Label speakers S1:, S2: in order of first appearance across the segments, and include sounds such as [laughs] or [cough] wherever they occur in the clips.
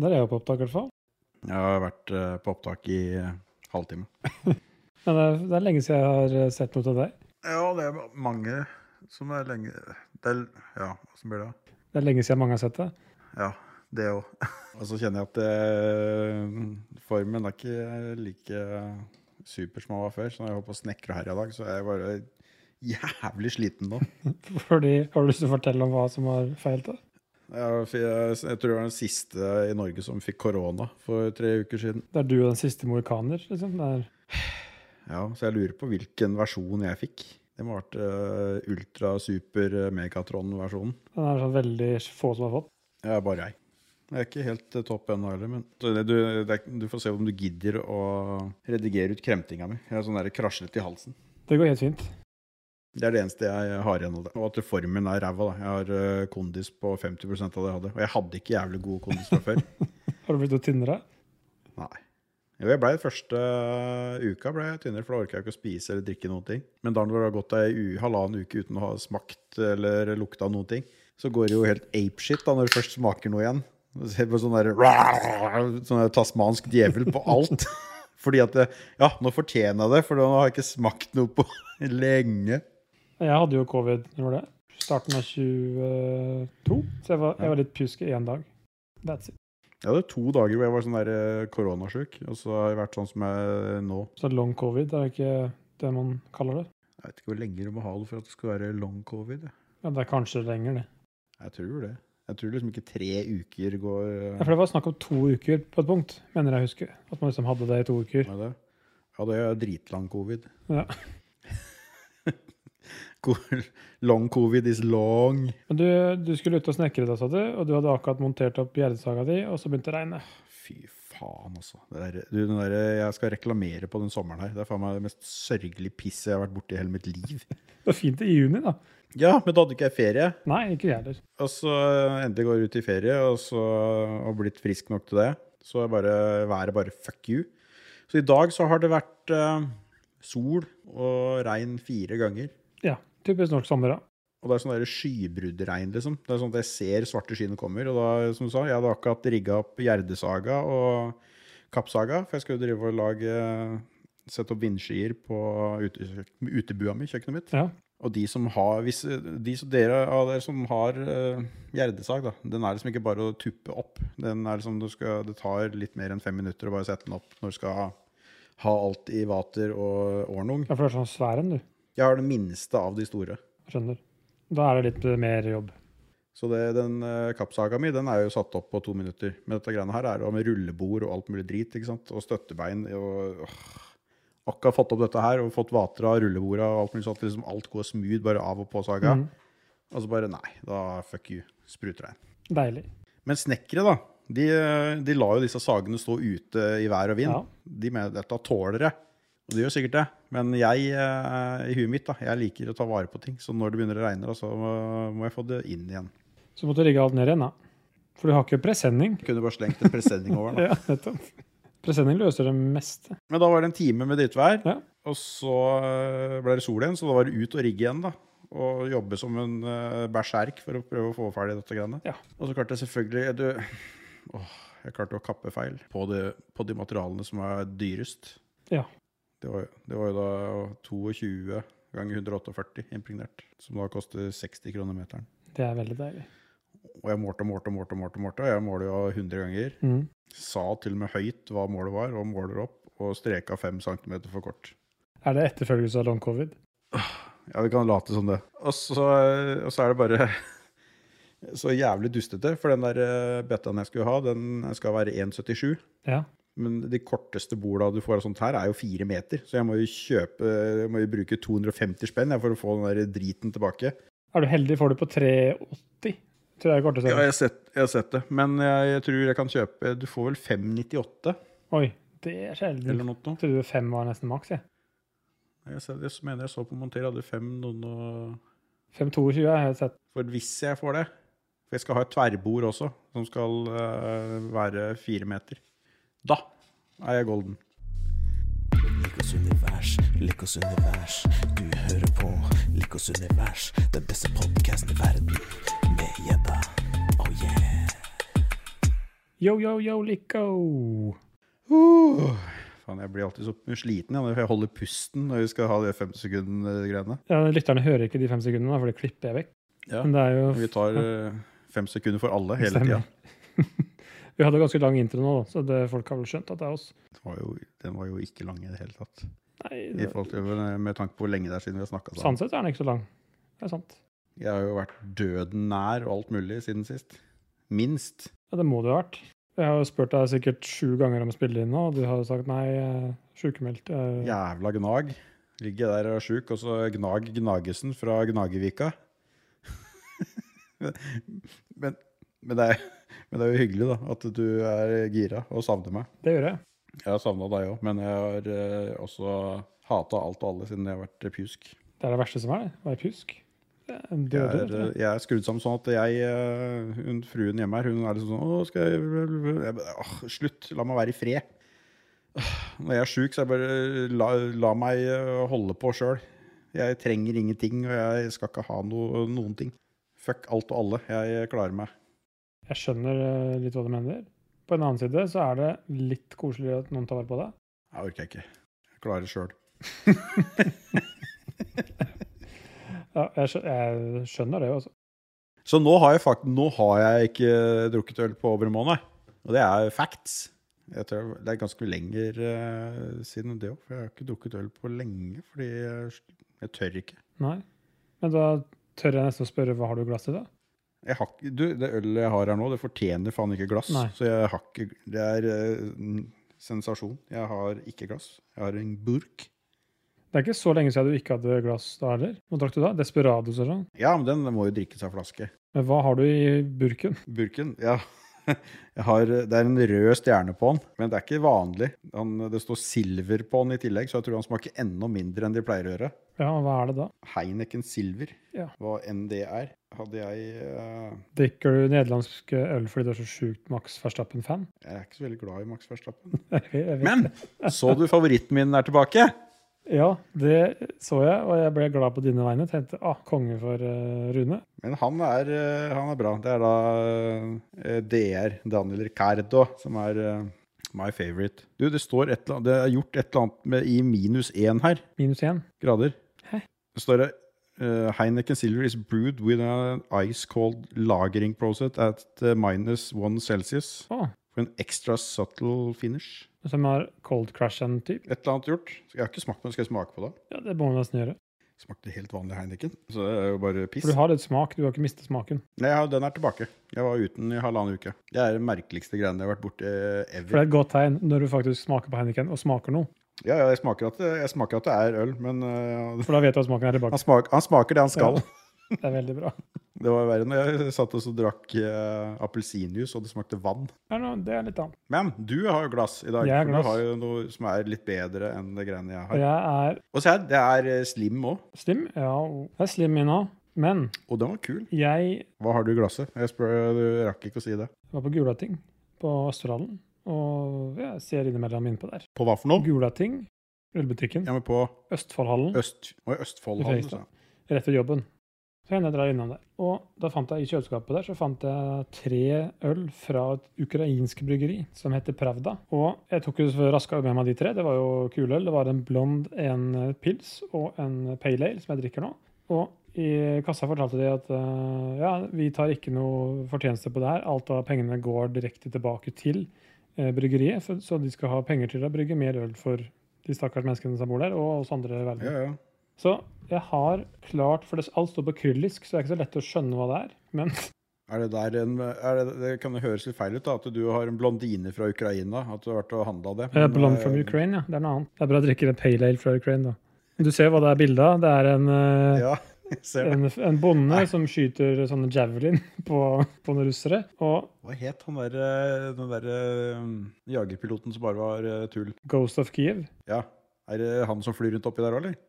S1: Der er jeg på opptak, i hvert fall.
S2: Jeg har vært eh, på opptak i eh, halvtime.
S1: Men det er, det er lenge siden jeg har eh, sett noe til deg.
S2: Ja, det er mange som er lenge det er, Ja, åssen blir det?
S1: Det er lenge siden mange har sett det.
S2: Ja, det [laughs] òg. Og så kjenner jeg at eh, formen er ikke like super som den var før. Så når jeg var på snekker her i dag, så er jeg bare jævlig sliten nå.
S1: [laughs] Fordi, har du lyst til å fortelle om hva som har feilt det?
S2: Ja, for Jeg, jeg tror jeg var den siste i Norge som fikk korona for tre uker siden.
S1: Det er du og den siste mohikaner, liksom. Det er,
S2: Ja, Så jeg lurer på hvilken versjon jeg fikk. Det må ha vært eh, ultra super eh, megatron-versjonen.
S1: den er sånn veldig få som har fått.
S2: Ja, bare jeg. Jeg er ikke helt eh, topp ennå heller, men så det, du, det, er- du får se om du gidder å redigere ut kremtinga mi. Jeg er sånn der kraslet i halsen.
S1: Det går helt fint.
S2: Det er det eneste jeg har igjen av det. Og at formen er ræva. da. Jeg har eh, kondis på 50 av det jeg hadde. Og jeg hadde ikke jævlig god kondis fra før.
S1: Har du blitt noe tynnere?
S2: Nei. Jo, jeg blei første eh, uka ble jeg tynnere, for da orka jeg ikke å spise eller drikke noen ting. Men da når det har gått ei u- halvannen uke uten å ha smakt eller lukta noen ting, så går det jo helt apeshit da når du først smaker noe igjen. Du ser på sånn der, [laughs] sånn der tasmansk djevel på alt. [laughs] Fordi at det, Ja, nå fortjener jeg det, for nå har jeg ikke smakt noe på [laughs] lenge.
S1: Jeg hadde jo covid når det var det. Starten av 22. Så jeg var, jeg var litt pjusk i én dag. That's it.
S2: Jeg hadde to dager hvor jeg var sånn der eh, koronasjuk, og så har jeg vært sånn som jeg er nå.
S1: Så long covid er ikke det man kaller det.
S2: Jeg vet ikke hvor lenge du må ha det for at det skal være long covid. jeg.
S1: Ja, det er kanskje lenger, det.
S2: Jeg tror det. Jeg tror liksom ikke tre uker går
S1: Ja,
S2: eh,
S1: For det var snakk om to uker på et punkt, mener jeg å huske. At man liksom hadde det i to uker.
S2: med det. Ja, det er dritlang covid. [laughs]
S1: Ja.
S2: Ko- long covid is long.
S1: Men du, du skulle ut og snekre deg, sa du, og du hadde akkurat montert opp gjerdesaga di, og så begynte det å regne.
S2: Fy faen, altså. Det der, du, den der, jeg skal reklamere på den sommeren her. Det er faen meg det mest sørgelige pisset jeg har vært borti i hele mitt liv.
S1: Det var fint i juni, da.
S2: [laughs] Ja, men da hadde ikke jeg ferie.
S1: Nei, ikke jeg heller.
S2: Og så øh, endelig går jeg ut i ferie og, så, øh, og blitt frisk nok til det. Så er bare været bare fuck you. Så i dag så har det vært eh, sol og regn fire ganger.
S1: Ja, typisk norsk sommer, da.
S2: Og det er sånn der skybruddregn, liksom. Det er sånn at jeg ser svarte skyene kommer. Og da, som du sa, jeg hadde akkurat rigga opp Gjerdesaga og Kappsaga, for jeg skulle drive og lage eh, Sette opp vindskyer på ute, utebua mi, kjøkkenet mitt.
S1: Ja.
S2: Og de som har hvis, de som Dere av dere som har eh, gjerdesag, da, den er liksom ikke bare å tuppe opp. Den er liksom, du skal, Det tar litt mer enn fem minutter å bare sette den opp når du skal ha, ha alt i vater og ordnung.
S1: ja, for du er sånn svær en, du.
S2: Jeg har den minste av de store.
S1: Skjønner. Da er det litt mer jobb.
S2: Så det, den eh, kappsaga mi den er jo satt opp på to minutter. Men dette greiene her er jo med rullebord og alt mulig drit. ikke sant? Og støttebein. og åh. Akkurat fått opp dette her og fått vater av rulleborda og alt mulig sånt. Liksom alt går smooth, bare av og på saga.
S1: Mhm.
S2: Og så bare nei, da fuck you. Sprutregn.
S1: Deilig.
S2: Men snekkere, da. De, de lar jo disse sagene stå ute i vær og vind.
S1: Ja.
S2: De mener dette tåler det. Og det gjør sikkert det. Men jeg, eh, i huet mitt, da, jeg liker å ta vare på ting. Så når det begynner å regne, da, så må, må jeg få det inn igjen.
S1: Så måtte du rigge alt ned igjen, da. For du har ikke presenning.
S2: Kunne bare slengt en presenning over den. da.
S1: Ja, nettopp. Presenning løser det meste.
S2: [laughs] Men da var det en time med drittvær,
S1: Ja.
S2: og så eh, ble det sol igjen, så da var det ut og rigge igjen, da. Og jobbe som en eh, berserk for å prøve å få ferdig dette greiene.
S1: Ja.
S2: Og så klarte jeg selvfølgelig du, åh, Jeg klarte å kappe feil på, det, på de materialene som er dyrest.
S1: Ja.
S2: Det var, det var jo da 22 ganger 148 impregnert, som da koster 60 kroner meteren.
S1: Det er veldig deilig.
S2: Og jeg målte og målte og målte, og målte, og målte, og jeg måler jo 100 ganger.
S1: Mm.
S2: Sa til og med høyt hva målet var, og måler opp, og streka 5 cm for kort.
S1: Er det etterfølgelse av long covid?
S2: Ja, vi kan late som det. Og så, og så er det bare [laughs] så jævlig dustete, for den der eh, betaen jeg skulle ha, den skal være 1,77.
S1: Ja.
S2: Men de korteste borda du får av sånt her, er jo fire meter. Så jeg må jo kjøpe Jeg må jo bruke 250 spenn jeg, for å få den der driten tilbake.
S1: Er du heldig, får du på 380. Tror jeg er kortest.
S2: Ja, jeg har sett, jeg har sett det. Men jeg, jeg tror jeg kan kjøpe Du får vel 598
S1: Oi, det er sjelden.
S2: eller noe sånt.
S1: Jeg trodde fem var nesten maks, jeg.
S2: Jeg, ser- jeg mener jeg så på Monter, hadde fem noen og
S1: 522 har jeg sett.
S2: For hvis jeg får det For jeg skal ha et tverrbord også, som skal eh, være fire meter. Da er jeg golden.
S3: Likos univers, Likos univers. Du hører på Likos univers, den beste podkasten i verden. Med gjedda. Oh yeah.
S1: Yo, yo, yo, Lico!
S2: Uh, faen, jeg blir alltid så sliten jeg, når jeg holder pusten når vi skal ha de fem sekundene-greiene.
S1: Ja, Lytterne hører ikke de fem sekundene, da, for det klipper jeg vekk.
S2: Ja.
S1: Men det er jo
S2: Vi tar eh, fem sekunder for alle hele
S1: Stemmer.
S2: tida.
S1: Vi hadde ganske lang intro nå, da, så det, folk har vel skjønt at det er oss.
S2: Den, var jo- den var jo ikke lang i det hele tatt.
S1: Nei,
S2: I forhold til, eh, med tanke på hvor lenge det er siden vi har snakka sammen.
S1: Sånn sett er den ikke så lang. Det er sant.
S2: Jeg har jo vært døden nær og alt mulig siden sist. Minst.
S1: Ja, det må det jo ha vært. Jeg har jo spurt deg sikkert sju ganger om å spille inn nå, og du har jo sagt nei, jeg er sykemeldt. eh, Jeg...
S2: Jævla gnag. Ligger jeg der og er sjuk, og så Gnag Gnagesen fra Gnagevika. [laughs] men, men, det er, men det er jo hyggelig, da, at du er gira og savner meg.
S1: Det gjør jeg.
S2: Jeg har savna deg òg, men jeg har eh, også hata alt og alle siden jeg har vært pjusk.
S1: Det er det verste som er, det. Å være pjusk. Det er en
S2: Jeg
S1: døde,
S2: er,
S1: vet du.
S2: eh, jeg er skrudd sammen sånn at jeg, eh, hun, fruen hjemme her, hun er liksom sånn Å, skal jeg, jeg bare, «Åh, Slutt, la meg være i fred. Åh, Når jeg er sjuk, så er jeg bare la, la meg eh, holde på sjøl. Jeg trenger ingenting, og jeg skal ikke ha no, noen ting. Fuck alt og alle. Jeg klarer meg.
S1: Jeg skjønner eh, litt hva du mener. På en annen side så er det litt koseligere at noen tar vare på deg.
S2: Jeg orker ikke. Jeg klarer sjøl.
S1: Ja, jeg, skjø- jeg skjønner det jo, altså.
S2: Så nå har jeg fakt nå har jeg ikke drukket øl på over en måned. Og det er facts. Jeg tror det er ganske lenger eh, siden det òg, for jeg har ikke drukket øl på lenge. Fordi jeg, jeg tør ikke.
S1: Nei. Men da tør jeg nesten å spørre hva har du i glasset, da?
S2: Jeg har, ikke- du, det ølet jeg har her nå, det fortjener faen ikke glass.
S1: Nei.
S2: Så jeg har ikke Det er eh, en sensasjon. Jeg har ikke glass. Jeg har en burk.
S1: Det er ikke så lenge siden du ikke hadde glass da heller. Hva drakk du da? Desperados og sånn?
S2: Ja, men den må jo drikkes av flaske.
S1: Men hva har du i burken? [laughs]
S2: Burken, ja. [laughs] Jeg har, det er en rød stjerne på den, men det er ikke vanlig. Han, det står silver på den i tillegg, så jeg tror han smaker enda mindre enn de pleier å gjøre.
S1: Ja, hva er det da?
S2: Heineken Silver,
S1: Ja.
S2: hva enn det er, hadde jeg eh,
S1: Drikker du nederlandsk øl fordi du er så sjukt Max Verstappen-fan? [laughs]
S2: Jeg er ikke så veldig glad i Max Verstappen.
S1: Jeg vet-
S2: [laughs] Men så du favoritten min er tilbake?
S1: Ja, det så jeg, og jeg ble glad på dine vegne. Tenkte ah, konge for eh, Rune.
S2: Men han er, eh, han er bra. Det er da eh, DR, Daniel Ricardo, som er eh, my favorite. Du, det står et eller annet Det er gjort et eller annet med, i minus én her.
S1: Minus én.
S2: grader.
S1: Hæ?
S2: Så står det eh, Heineken Silver is brewed with an ice cold lagering process at eh, minus one celsius.
S1: Å,
S2: For en extra subtle finish.
S1: som har cold crash-en-type.
S2: Et eller annet gjort. Jeg har ikke smakt på det. Skal jeg smake på det?
S1: Ja, det må vi nesten gjøre.
S2: Smakte helt vanlig Heineken. Så det er jo bare piss.
S1: For du har litt smak, du har ikke mistet smaken.
S2: Nei, ja, den er tilbake. Jeg var uten i halvannen uke. Det er den merkeligste greiene jeg har vært borti
S1: For
S2: eh,
S1: det
S2: ever.
S1: er et godt tegn når du faktisk smaker på Heineken, og smaker noe.
S2: Ja, ja, jeg smaker at det, jeg smaker at det er øl, men eh,
S1: For da vet du at smaken er
S2: [laughs]
S1: tilbake.
S2: han, smak, han smaker det han skal.
S1: Det er veldig bra.
S2: Det var verre når jeg satt og så drakk eh, appelsinjuice, og det smakte vann.
S1: Ja, no, det er litt annet.
S2: Men du har jo glass i dag.
S1: Jeg har
S2: for
S1: glass.
S2: Du har jo noe som er litt bedre enn det greiene jeg
S1: Og
S2: har.
S1: jeg er
S2: Og se her, det er eh, slim òg.
S1: slim. Ja, jeg er slim min òg. Men
S2: Og den var kul.
S1: jeg
S2: Hva har du i glasset? Jeg spør, eh, du rakk ikke å si det.
S1: var på Gulating på Østerdalen, og jeg ser innimellom innpå der.
S2: På hva for noe?
S1: Gulating, ølbutikken,
S2: Ja, men på
S1: Østfoldhallen,
S2: Øst... Å, i Østfold.
S1: I
S2: hadde du
S1: Fredrikstad.
S2: sagt.
S1: rett ved jobben. Så hender jeg drar innom der. Og da fant jeg i kjøleskapet der så fant jeg tre øl fra et ukrainsk bryggeri som heter Pravda. Og jeg tok jo så raska med meg de tre. Det var jo kule øl. Det var en blond, en pils og en pale ale som jeg drikker nå. Og i kassa fortalte de at eh, ja, vi tar ikke noe fortjeneste på det her. Alt av pengene går direkte tilbake til eh, bryggeriet. For, så de skal ha penger til å brygge mer øl for de stakkars menneskene som bor der, og oss andre i verden.
S2: Ja, ja.
S1: Så jeg har klart For det, alt står på kryllisk, så det er ikke så lett å skjønne hva det er. Men
S2: Er det der en er det, det kan jo høres litt feil ut, da, at du har en blondine fra Ukraina. At du har vært og handla det.
S1: Eh,
S2: men,
S1: Blond
S2: eh,
S1: from Ukraine, ja. Det er noe annet. Det er bra å drikke en pale ale fra Ukraine, da. Du ser hva det er bilde av. Det er en, eh,
S2: [laughs] Ja, jeg ser det.
S1: en, en bonde som skyter sånne javelin [laughs] på, på noen russere. Og
S2: Hva het han der, eh, den derre jagerpiloten som bare var eh, tull?
S1: Ghost of Kiev.
S2: Ja. Er det han som flyr rundt oppi der òg, eller?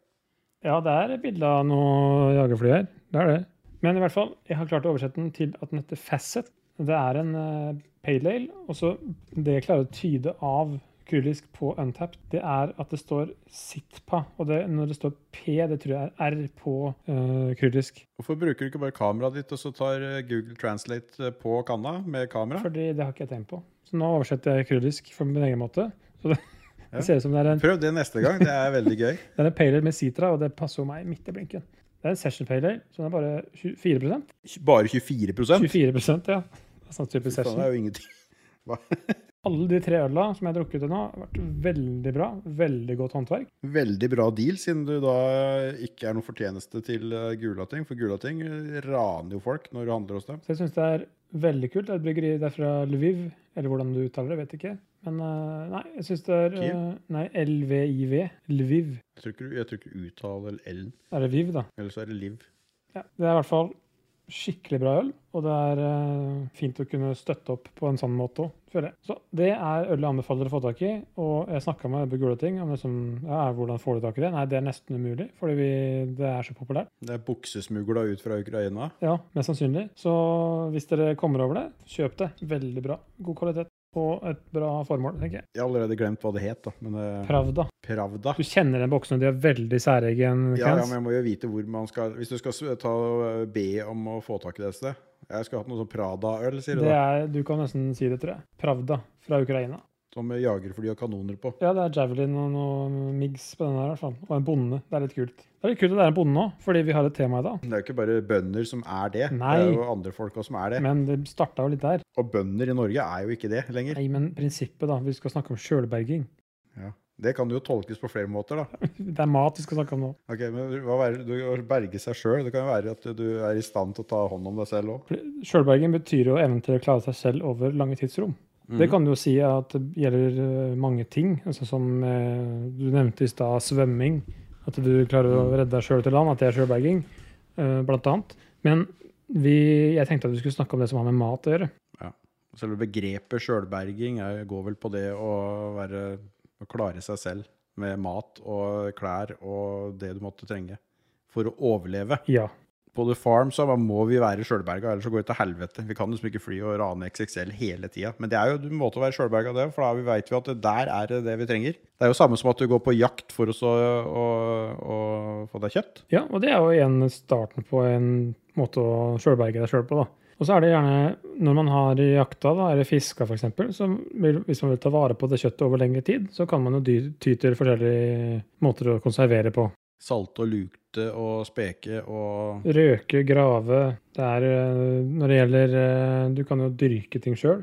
S1: Ja, det er bilde av noe jagerfly her. Det er det. Men i hvert fall, jeg har klart å oversette den til at den heter Facet. Det er en eh, pale ale, og så det jeg klarer å tyde av kryllisk på Untapped, det er at det står Sitpa, og det, når det står P, det tror jeg er R på eh, kryllisk.
S2: Hvorfor bruker du ikke bare kameraet ditt og så tar eh, Google Translate eh, på kanna med kamera?
S1: Fordi det har ikke jeg tenkt på. Så nå oversetter jeg kurdisk for min egen måte. Så det,
S2: Ja.
S1: det ser ut som det er en
S2: Prøv det neste gang. Det er veldig gøy.
S1: Det er en pale ale med sitra, og det passer jo meg midt i blinken. Det er en session pale ale, så den er bare 24
S2: [laughs] Bare 24 Faen,
S1: 24 ja. Det er sånn type
S2: Det
S1: session.
S2: er jo ingenting. [laughs]
S1: Alle de tre øla som jeg har drukket til nå, har vært veldig bra. Veldig godt håndverk.
S2: Veldig bra deal, siden du da eh, ikke er noe fortjeneste til eh, Gulating. For Gulating eh, raner jo folk når du handler hos dem.
S1: Så jeg syns det er veldig kult. Det er et bryggeri det er fra Lviv, eller hvordan du uttaler det, vet ikke. Men eh, nei, jeg syns det er
S2: Kiev?
S1: eh, Nei, LVIV. Lviv.
S2: Jeg tror ikke du, jeg tror ikke du uttaler L-en,
S1: Det er Lviv, da.
S2: eller så er det Liv.
S1: Ja. Det er i hvert fall skikkelig bra øl, og det er eh, fint å kunne støtte opp på en sånn måte òg, føler jeg. Så det er øl jeg anbefaler å få tak i, og jeg snakka med Ebbe Gulating om liksom, ja, hvordan får du tak i det. Nei, det er nesten umulig, fordi vi, det er så populært.
S2: Det er buksesmugla ut fra Ukraina.
S1: Ja, mest sannsynlig. Så hvis dere kommer over det, kjøp det. Veldig bra. God kvalitet. Og et bra formål, tenker jeg.
S2: Jeg har allerede glemt hva det het, da. Men eh,
S1: Pravda.
S2: Pravda.
S1: Du kjenner den boksen, og de er veldig særegen.
S2: Ja, ja,
S1: Kens.
S2: men jeg må jo vite hvor man skal Hvis du skal s- ta og be om å få tak i det et sted Jeg skulle hatt noe sånn Prada-øl, sier du
S1: det
S2: da.
S1: er, du kan nesten si det, tror jeg. Pravda fra Ukraina.
S2: Som jagerfly og kanoner på.
S1: Ja, det er javelin og noe migs på den her, i hvert fall. Og en bonde. Det er litt kult. Det er litt kult at det er en bonde òg, fordi vi har et tema i dag.
S2: Det er jo ikke bare bønder som er det.
S1: Nei.
S2: Det er jo andre folk også som er det.
S1: Men det starta jo litt der.
S2: Og bønder i Norge er jo ikke det lenger.
S1: Nei, men prinsippet, da. Vi skal snakke om sjølberging.
S2: Det kan jo tolkes på flere måter, da.
S1: Det er mat vi skal snakke om nå.
S2: Ok, men hva være, du, Å berge seg sjøl, det kan jo være at du er i stand til å ta hånd om deg selv òg.
S1: Sjølberging betyr jo evnen til å klare seg selv over lange tidsrom.
S2: Mhm.
S1: Det kan du jo si at det gjelder eh, mange ting, altså som eh, du nevnte i stad, svømming. At du klarer å redde deg sjøl til land, at det er sjølberging, eh, blant annet. Men vi, jeg tenkte at vi skulle snakke om det som har med mat å gjøre.
S2: Selve begrepet sjølberging er- går vel på det å være Å klare seg selv med mat og klær og det du måtte trenge for å overleve.
S1: Ja.
S2: På The Farm så må vi være sjølberga, ellers så går det til helvete. Vi kan liksom ikke fly og rane XXL hele tida. Men det er jo en måte å være sjølberga, det, for da veit vi at det der er det det vi trenger. Det er jo samme som at du går på jakt for å, så, å, å få deg kjøtt.
S1: ja, og det er jo igjen starten på en måte å sjølberge deg sjøl på, da. Og så er det gjerne, når man har jakta da, eller fiska f.eks., så vil, hvis man vil ta vare på det kjøttet over lengre tid, så kan man jo dy- ty til forskjellige måter å konservere på.
S2: Salte og lukte og speke og
S1: Røke, grave Det er eh, når det gjelder eh, Du kan jo dyrke ting sjøl.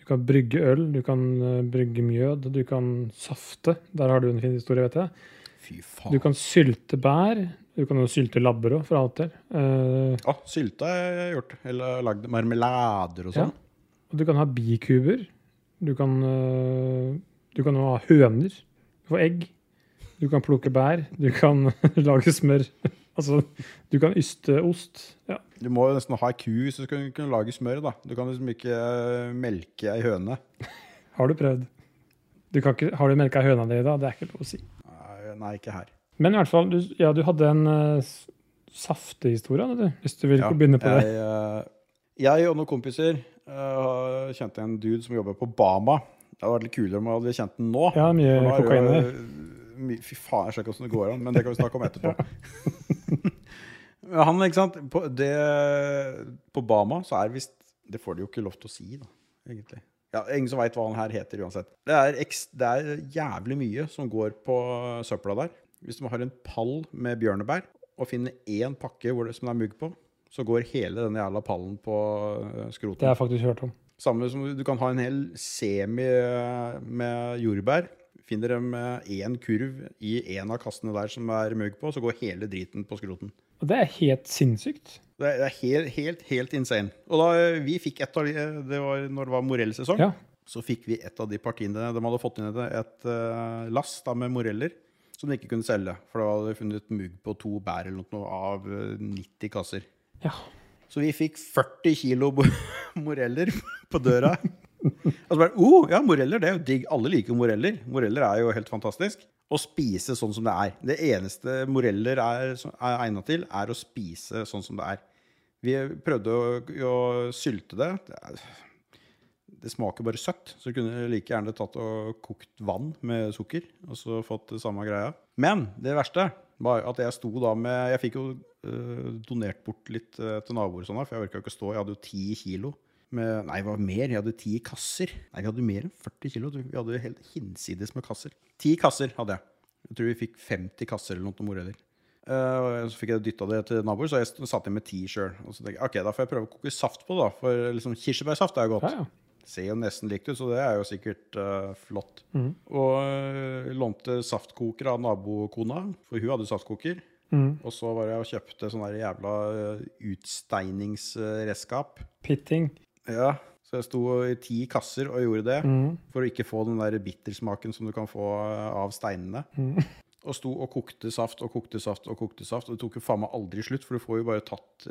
S1: Du kan brygge øl, du kan eh, brygge mjød, du kan safte. Der har du en fin historie, vet jeg.
S2: Fy
S1: Du
S2: faen.
S1: kan sylte bær. Du kan jo sylte labber òg, for alt del. Eh,
S2: Ja, sylta har jeg gjort. Eller lagd marmelader og
S1: Ja.
S2: sånn.
S1: Og du kan ha bikuber. Du kan, øh, du kan jo ha høner. Du får egg. Du kan plukke bær. Du kan [laughs] lage smør. Altså, du kan yste ost. Ja.
S2: Du må jo nesten ha ei ku så du skal kunne lage smør, da. Du kan liksom ikke eh, melke ei høne.
S1: Har du prøvd? Du kan ikke, har du melka høna di da? Det er ikke lov å si.
S2: Nei, Nei, ikke her.
S1: Men i hvert fall, du, ja, du hadde en øh, s- saftehistorie, hadde du? Hvis du vil
S2: Ja,
S1: begynne på det.
S2: jeg, eh, Jeg og noen kompiser eh, kjente en dude som jobber på Bama. Det hadde vært litt kulere om jeg hadde kjent den nå.
S1: Ja, mye
S2: For nå er det
S1: kokain
S2: jo,
S1: her.
S2: eh, my- Fy faen, jeg ser ikke åssen det går an, men det kan vi snakke om
S1: [laughs]
S2: etterpå. Men Han, ikke sant, på, det, på Bama så er visst Det får de jo ikke lov til å si, da, egentlig. Ja, Ingen som veit hva han her heter uansett. Det er, eks, det er jævlig mye som går på søpla der. Hvis du har en pall med bjørnebær og finner én pakke hvor det, som det er mugg på, så går hele denne jævla pallen på eh, skroten.
S1: Det har jeg faktisk hørt om.
S2: Samme som du kan ha en hel semi eh, med jordbær. Finner dem eh, én kurv i en av kassene der som er mugg på, så går hele driten på skroten.
S1: Og det er helt sinnssykt.
S2: Det er, det er helt, helt, helt insane. Og da eh, vi fikk et av de Det var når det var morellsesong.
S1: Ja.
S2: Så fikk vi et av de partiene De hadde fått inn et, et eh, lass da, med moreller som de ikke kunne selge. For da hadde de funnet mugg på to bær eller noe av eh, 90 kasser.
S1: ja.
S2: Så vi fikk 40 kilo bo- [laughs] moreller på døra. Og så bare oh, ja, moreller, det er jo digg. Alle liker moreller. Moreller er jo helt fantastisk. Å spise sånn som det er. Det eneste moreller er, som er egna til, er å spise sånn som det er. Vi prøvde å, å sylte det. Det, er, det smaker bare søtt. Så kunne jeg like gjerne tatt og kokt vann med sukker og så fått det samme greia. Men det verste var at jeg eh, sto da med eh, Jeg fikk jo øh, donert bort litt øh, til naboer og sånn, da, for jeg orka ikke å stå. Jeg hadde jo ti kilo Med, nei, det var mer. Vi hadde ti kasser. Nei, vi hadde mer enn 40 kilo. tror jeg. Vi hadde jo helt hinsides med kasser. Ti kasser hadde jeg. Jeg tror vi fikk 50 kasser eller noe til moro heller. Eh, og så fikk jeg dytta det til naboer, så jeg st- satt inn med ti sjøl. Og så tenkte jeg ok, da får jeg prøve å koke saft på det, da. For liksom, kirsebærsaft er jo godt.
S1: Ja, ja.
S2: Ser jo nesten likt ut, så det er jo sikkert eh, flott. Og eh, lånte saftkoker av nabokona, for hun hadde saftkoker. Og så var jeg og kjøpte sånne der jævla eh, utsteiningsredskap.
S1: Pitting.
S2: Ja, så jeg sto i ti kasser og gjorde det, for å ikke få den der bittersmaken som du kan få eh, av steinene. Og sto og kokte saft og kokte saft og kokte saft, og det tok jo faen meg aldri slutt, for du får jo bare tatt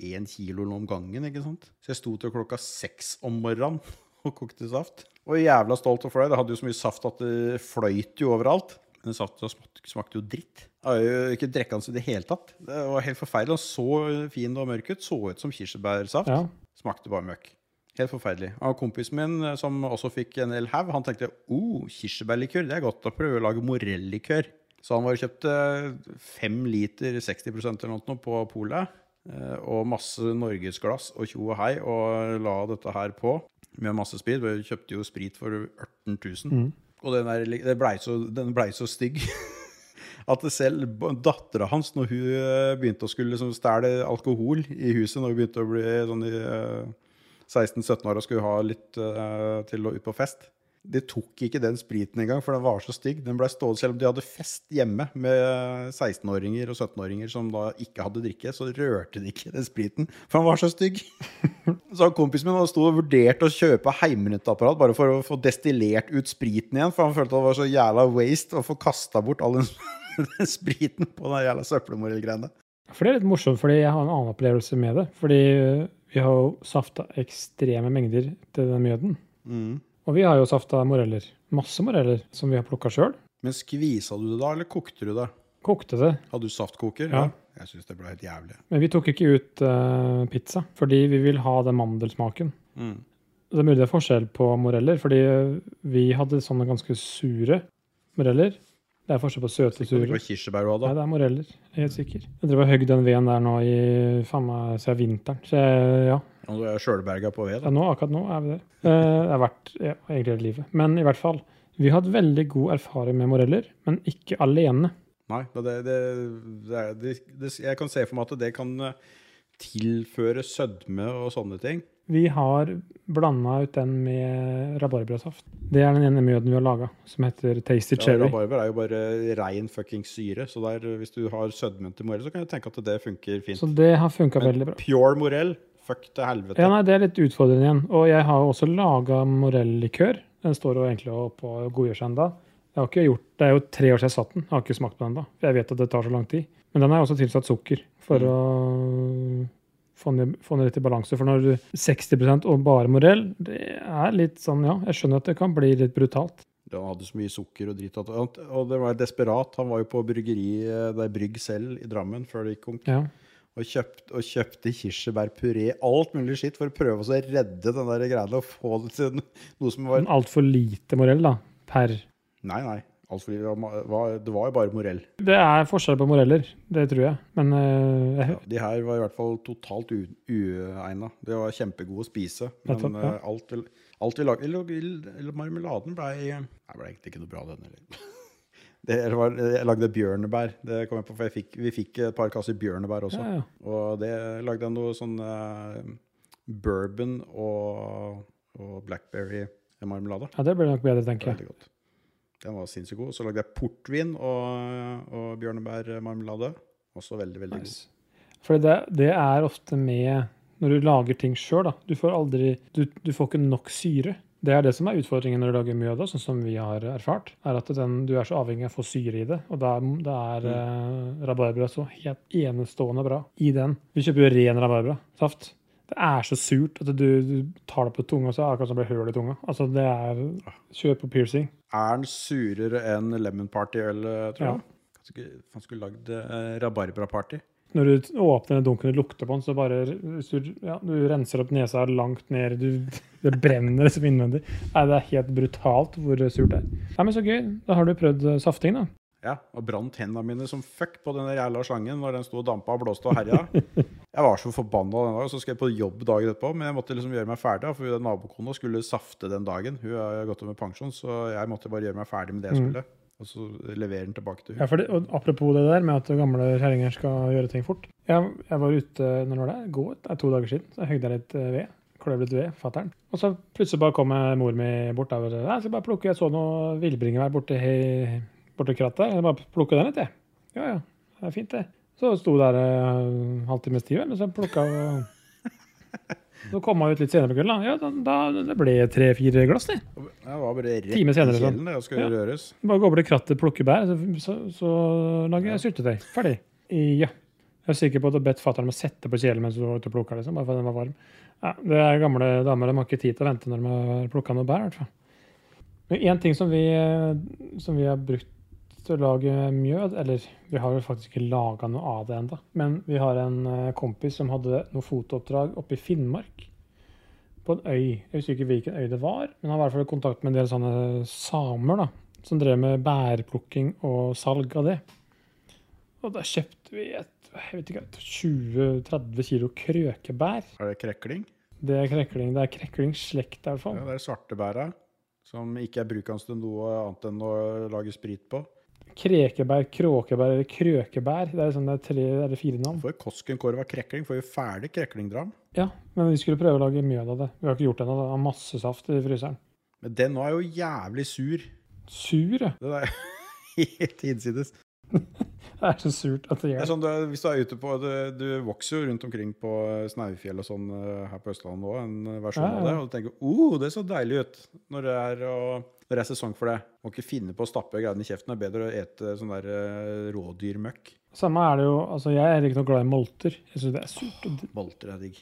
S2: én kilo om gangen, ikke sant? Så jeg sto til klokka seks om morgenen [laughs] og kokte saft. Og jævla stolt og fornøyd. Jeg hadde jo så mye saft at det fløyt jo overalt. Men den safta smakte, smakte jo dritt. Jeg har jo ikke drukket den så i det hele tatt. Det var helt forferdelig. Den så fin og mørk ut. Så ut som kirsebærsaft.
S1: Ja.
S2: Smakte bare møkk. Helt forferdelig. Og kompisen min, eh, som også fikk en hel haug, han tenkte oh, kirsebærlikør, det er godt å prøve å lage morellikør. Så han var og kjøpte eh, fem liter 60 eller noe sånt på polet, eh, og masse norgesglass og tjo og hei, og la dette her på med masse sprit. Vi kjøpte jo sprit for 18 000. Og den, der, li- det blei så, den blei så stygg at det selv dattera hans, når hun eh, begynte å skulle liksom stjele alkohol i huset, når hun begynte å bli sånn i eh, 16-17 år og skulle ha litt eh, til å ut på fest De tok ikke den spriten engang, for den var så stygg. Den ble stående selv om de hadde fest hjemme med 16-åringer og 17-åringer som da ikke hadde drikke, så rørte de ikke den spriten, for den var så stygg. Så kompisen min hadde stod og vurderte å kjøpe heimebrentapparat bare for å få destillert ut spriten igjen, for han følte at det var så jævla waste å få kasta bort all den, [laughs] den spriten på den jævla søppelmorellgreiene.
S1: For det er litt morsomt, fordi jeg har en annen opplevelse med det. Fordi øh, vi har jo safta ekstreme mengder til den mjøden.
S2: Mm.
S1: Og vi har jo safta moreller. Masse moreller som vi har plukka sjøl.
S2: Men skvisa du det da, eller kokte du det?
S1: Kokte det.
S2: Hadde du saftkoker?
S1: Ja.
S2: Jeg syns det ble helt jævlig.
S1: Men vi tok ikke ut øh, pizza, fordi vi vil ha den mandelsmaken. Det er mulig det er forskjell på moreller, fordi øh, vi hadde sånne ganske sure moreller. Det er forskjell på søte,
S2: Det
S1: sure.
S2: var kirsebær du hadde.
S1: Nei, det er moreller. Jeg er helt sikker. Jeg drev og høgg den veden der nå i faen meg siden vinteren. Så jeg, ja,
S2: Og du er sjølberga på ved,
S1: Ja,
S2: da.
S1: nå, akkurat nå er vi der. Eh, det har vært ja, egentlig hele livet. Men i hvert fall, vi har hatt veldig god erfaring med moreller, men ikke alene.
S2: Nei, men det, det, det, er- det, det Jeg kan se for meg at det kan eh, tilføre sødme og sånne ting.
S1: Vi har blanda ut den med rabarbrasaft. Det er den ene mjøden vi har laga, som heter Tasty
S2: Ja,
S1: Cherry.
S2: Rabarber er jo bare rein fucking syre, så der, hvis du har sødmen til morell, så kan jeg tenke at det funker fint.
S1: Så det har funka veldig bra.
S2: Pure morell, fuck til helvete.
S1: Ja, nei, Det er litt utfordrende igjen. Og jeg har jo også laga morellikør. Den står jo egentlig oppe og godgjør seg ennå. Det har ikke gjort, det er jo tre år siden jeg satt den. Jeg har ikke smakt på den ennå. Jeg vet at det tar så lang tid. Men den er også tilsatt sukker for å få den, i- få den litt i balanse. For når du 60 og bare morell, det er litt sånn, ja, jeg skjønner at det kan bli litt brutalt.
S2: Han hadde så mye sukker og dritt. at- og- Og det var desperat. Han var jo på bryggeri, eh, det er Brygg selv i Drammen før det gikk konk,
S1: Ja.
S2: og, kjøpt, og kjøpte kirsebærpuré, alt mulig skitt, for å prøve å så redde den der greia og få det til noe som var
S1: Men altfor lite morell, da, per
S2: Nei, nei. Alt fordi det var- var, det var jo bare morell.
S1: Det er forskjell på moreller, det tror jeg. Men eh, jeg,
S2: De her var i hvert fall totalt u- uegna. De var kjempegode å spise. Men
S1: Nettopp, ja.
S2: eh, alt, vi- alt vi lagde eller, eller Marmeladen blei Det ble egentlig ikke noe bra, den heller. [laughs] Det var, jeg lagde bjørnebær. Det kom jeg på, for jeg fikk, Vi fikk et par kasser bjørnebær også.
S1: Ja, ja.
S2: Og det lagde jeg noe sånn eh, bourbon og, og blackberry-marmelade.
S1: ja, det blir nok bedre, tenker jeg.
S2: Veldig godt. Den var sinnssykt god. Så lagde jeg portvin og, og bjørnebærmarmelade. Også veldig, veldig god.
S1: Nice. For det, det er ofte med når du lager ting sjøl. Du får aldri du, du får ikke nok syre. Det er det som er utfordringen når du lager mjød, da, sånn som vi har erfart. er at den, Du er så avhengig av å få syre i det. Og da er, da er
S2: Mm.
S1: eh, rabarbra så helt enestående bra i den. Vi kjøper jo ren rabarbrasaft. Det er så surt at du, du tar det på tunga, så er det akkurat som det blir høl i tunga. Altså, det er
S2: Ah.
S1: Kjør på piercing.
S2: Er den surere enn Lemon Party-øl, tror
S1: Ja.
S2: jeg? Kanskje ikke- Han skulle lagd eh, Rabarbra-party.
S1: Når du åpner den dunken du lukter på den, så bare hvis du, ja, du renser opp nesa langt ned. Du, det brenner liksom innvendig. Nei, det er helt brutalt hvor surt det er. Nei, men Så gøy. Da har du prøvd eh, safting, da.
S2: Ja, og brant hendene mine som fuck på den der jævla slangen når den sto og dampa og blåste og
S1: [laughs]
S2: herja. Jeg var så forbanna den dagen, så skal jeg på jobb dagen etterpå. Men jeg måtte liksom gjøre meg ferdig, da, for hun der nabokona skulle safte den dagen. Hun har gått av med pensjon, så jeg måtte bare gjøre meg ferdig med det jeg skulle. Og så levere den tilbake til hun.
S1: Mm. Ja, for det, og apropos det der med at gamle kjerringer skal gjøre ting fort. Jeg, jeg var ute når var det? I går, det er to dager siden. Så jeg høgde litt eh, ved. Kløv litt ved fatter'n. Og så plutselig bare kom eh, mor mi bort. Da, og bare, jeg skal bare plukke, jeg så noe villbringebær borti he- borti krattet. her. Jeg bare plukke den litt, jeg. Ja ja, det er fint, det. Så sto der eh, halvtimes tid, vel, og så plukka hun Så kom hun ut litt senere på kvelden. da. Ja, da, da det ble tre-fire glass, det.
S2: Jeg var bare rett
S1: Time senere,
S2: i
S1: sånn.
S2: kjelen, det, og skulle
S1: Ja.
S2: røres.
S1: Bare gå over til krattet, plukke bær, så, så, så lager jeg syltetøy. Ferdig. Ja. Jeg er sikker på at du har bedt fatter'n om å sette på kjelen mens du var ute og plukka, liksom, bare fordi den var varm. Ja, det er gamle damer, de har ikke tid til å vente når de har plukka noe bær, i hvert fall. Men én ting som vi, eh, som vi har brukt til å lage mjød, eller vi har jo faktisk ikke laga noe av det ennå, men vi har en eh, kompis som hadde noe fotooppdrag oppe i Finnmark. På en øy. Jeg husker ikke hvilken øy det var, men han var i hvert fall i kontakt med en del sånne samer, da som drev med bærplukking og salg av det. Og da kjøpte vi et jeg vet ikke, et 20-30 kilo krøkebær.
S2: Er det krekling?
S1: Det er krekling. Det er kreklingslekt, i hvert fall.
S2: Ja, det er svartebæra. Som ikke er brukende til noe annet enn å lage sprit på.
S1: Krekebær, kråkebær eller krøkebær. Det er sånn det er tre eller fire navn.
S2: For Koskenkorva krekling får jo ferdig kreklingdram.
S1: Ja, Men vi skulle prøve å lage mjød av det. Vi har ikke gjort det ennå. Det har masse saft i fryseren.
S2: Men den nå er jo jævlig sur.
S1: Sur, ja. [laughs]
S2: Den er [laughs] helt hinsides.
S1: Det er så surt at det
S2: Det er
S1: gjør det.
S2: sånn, du, er- hvis du er ute på, du, du vokser jo rundt omkring på Snaufjell og sånn eh, her på Østlandet òg, en versjon
S1: Ja, ja.
S2: av det, og du tenker oh, det så deilig ut når det er, å- når det er sesong for det. Må ikke finne på å stappe greiene i kjeften. Det er bedre å ete sånn der eh, rådyrmøkk.
S1: Samme er det jo Altså, jeg er ikke noe glad i molter. Jeg syns det er surt. Og det-
S2: Bolter er digg.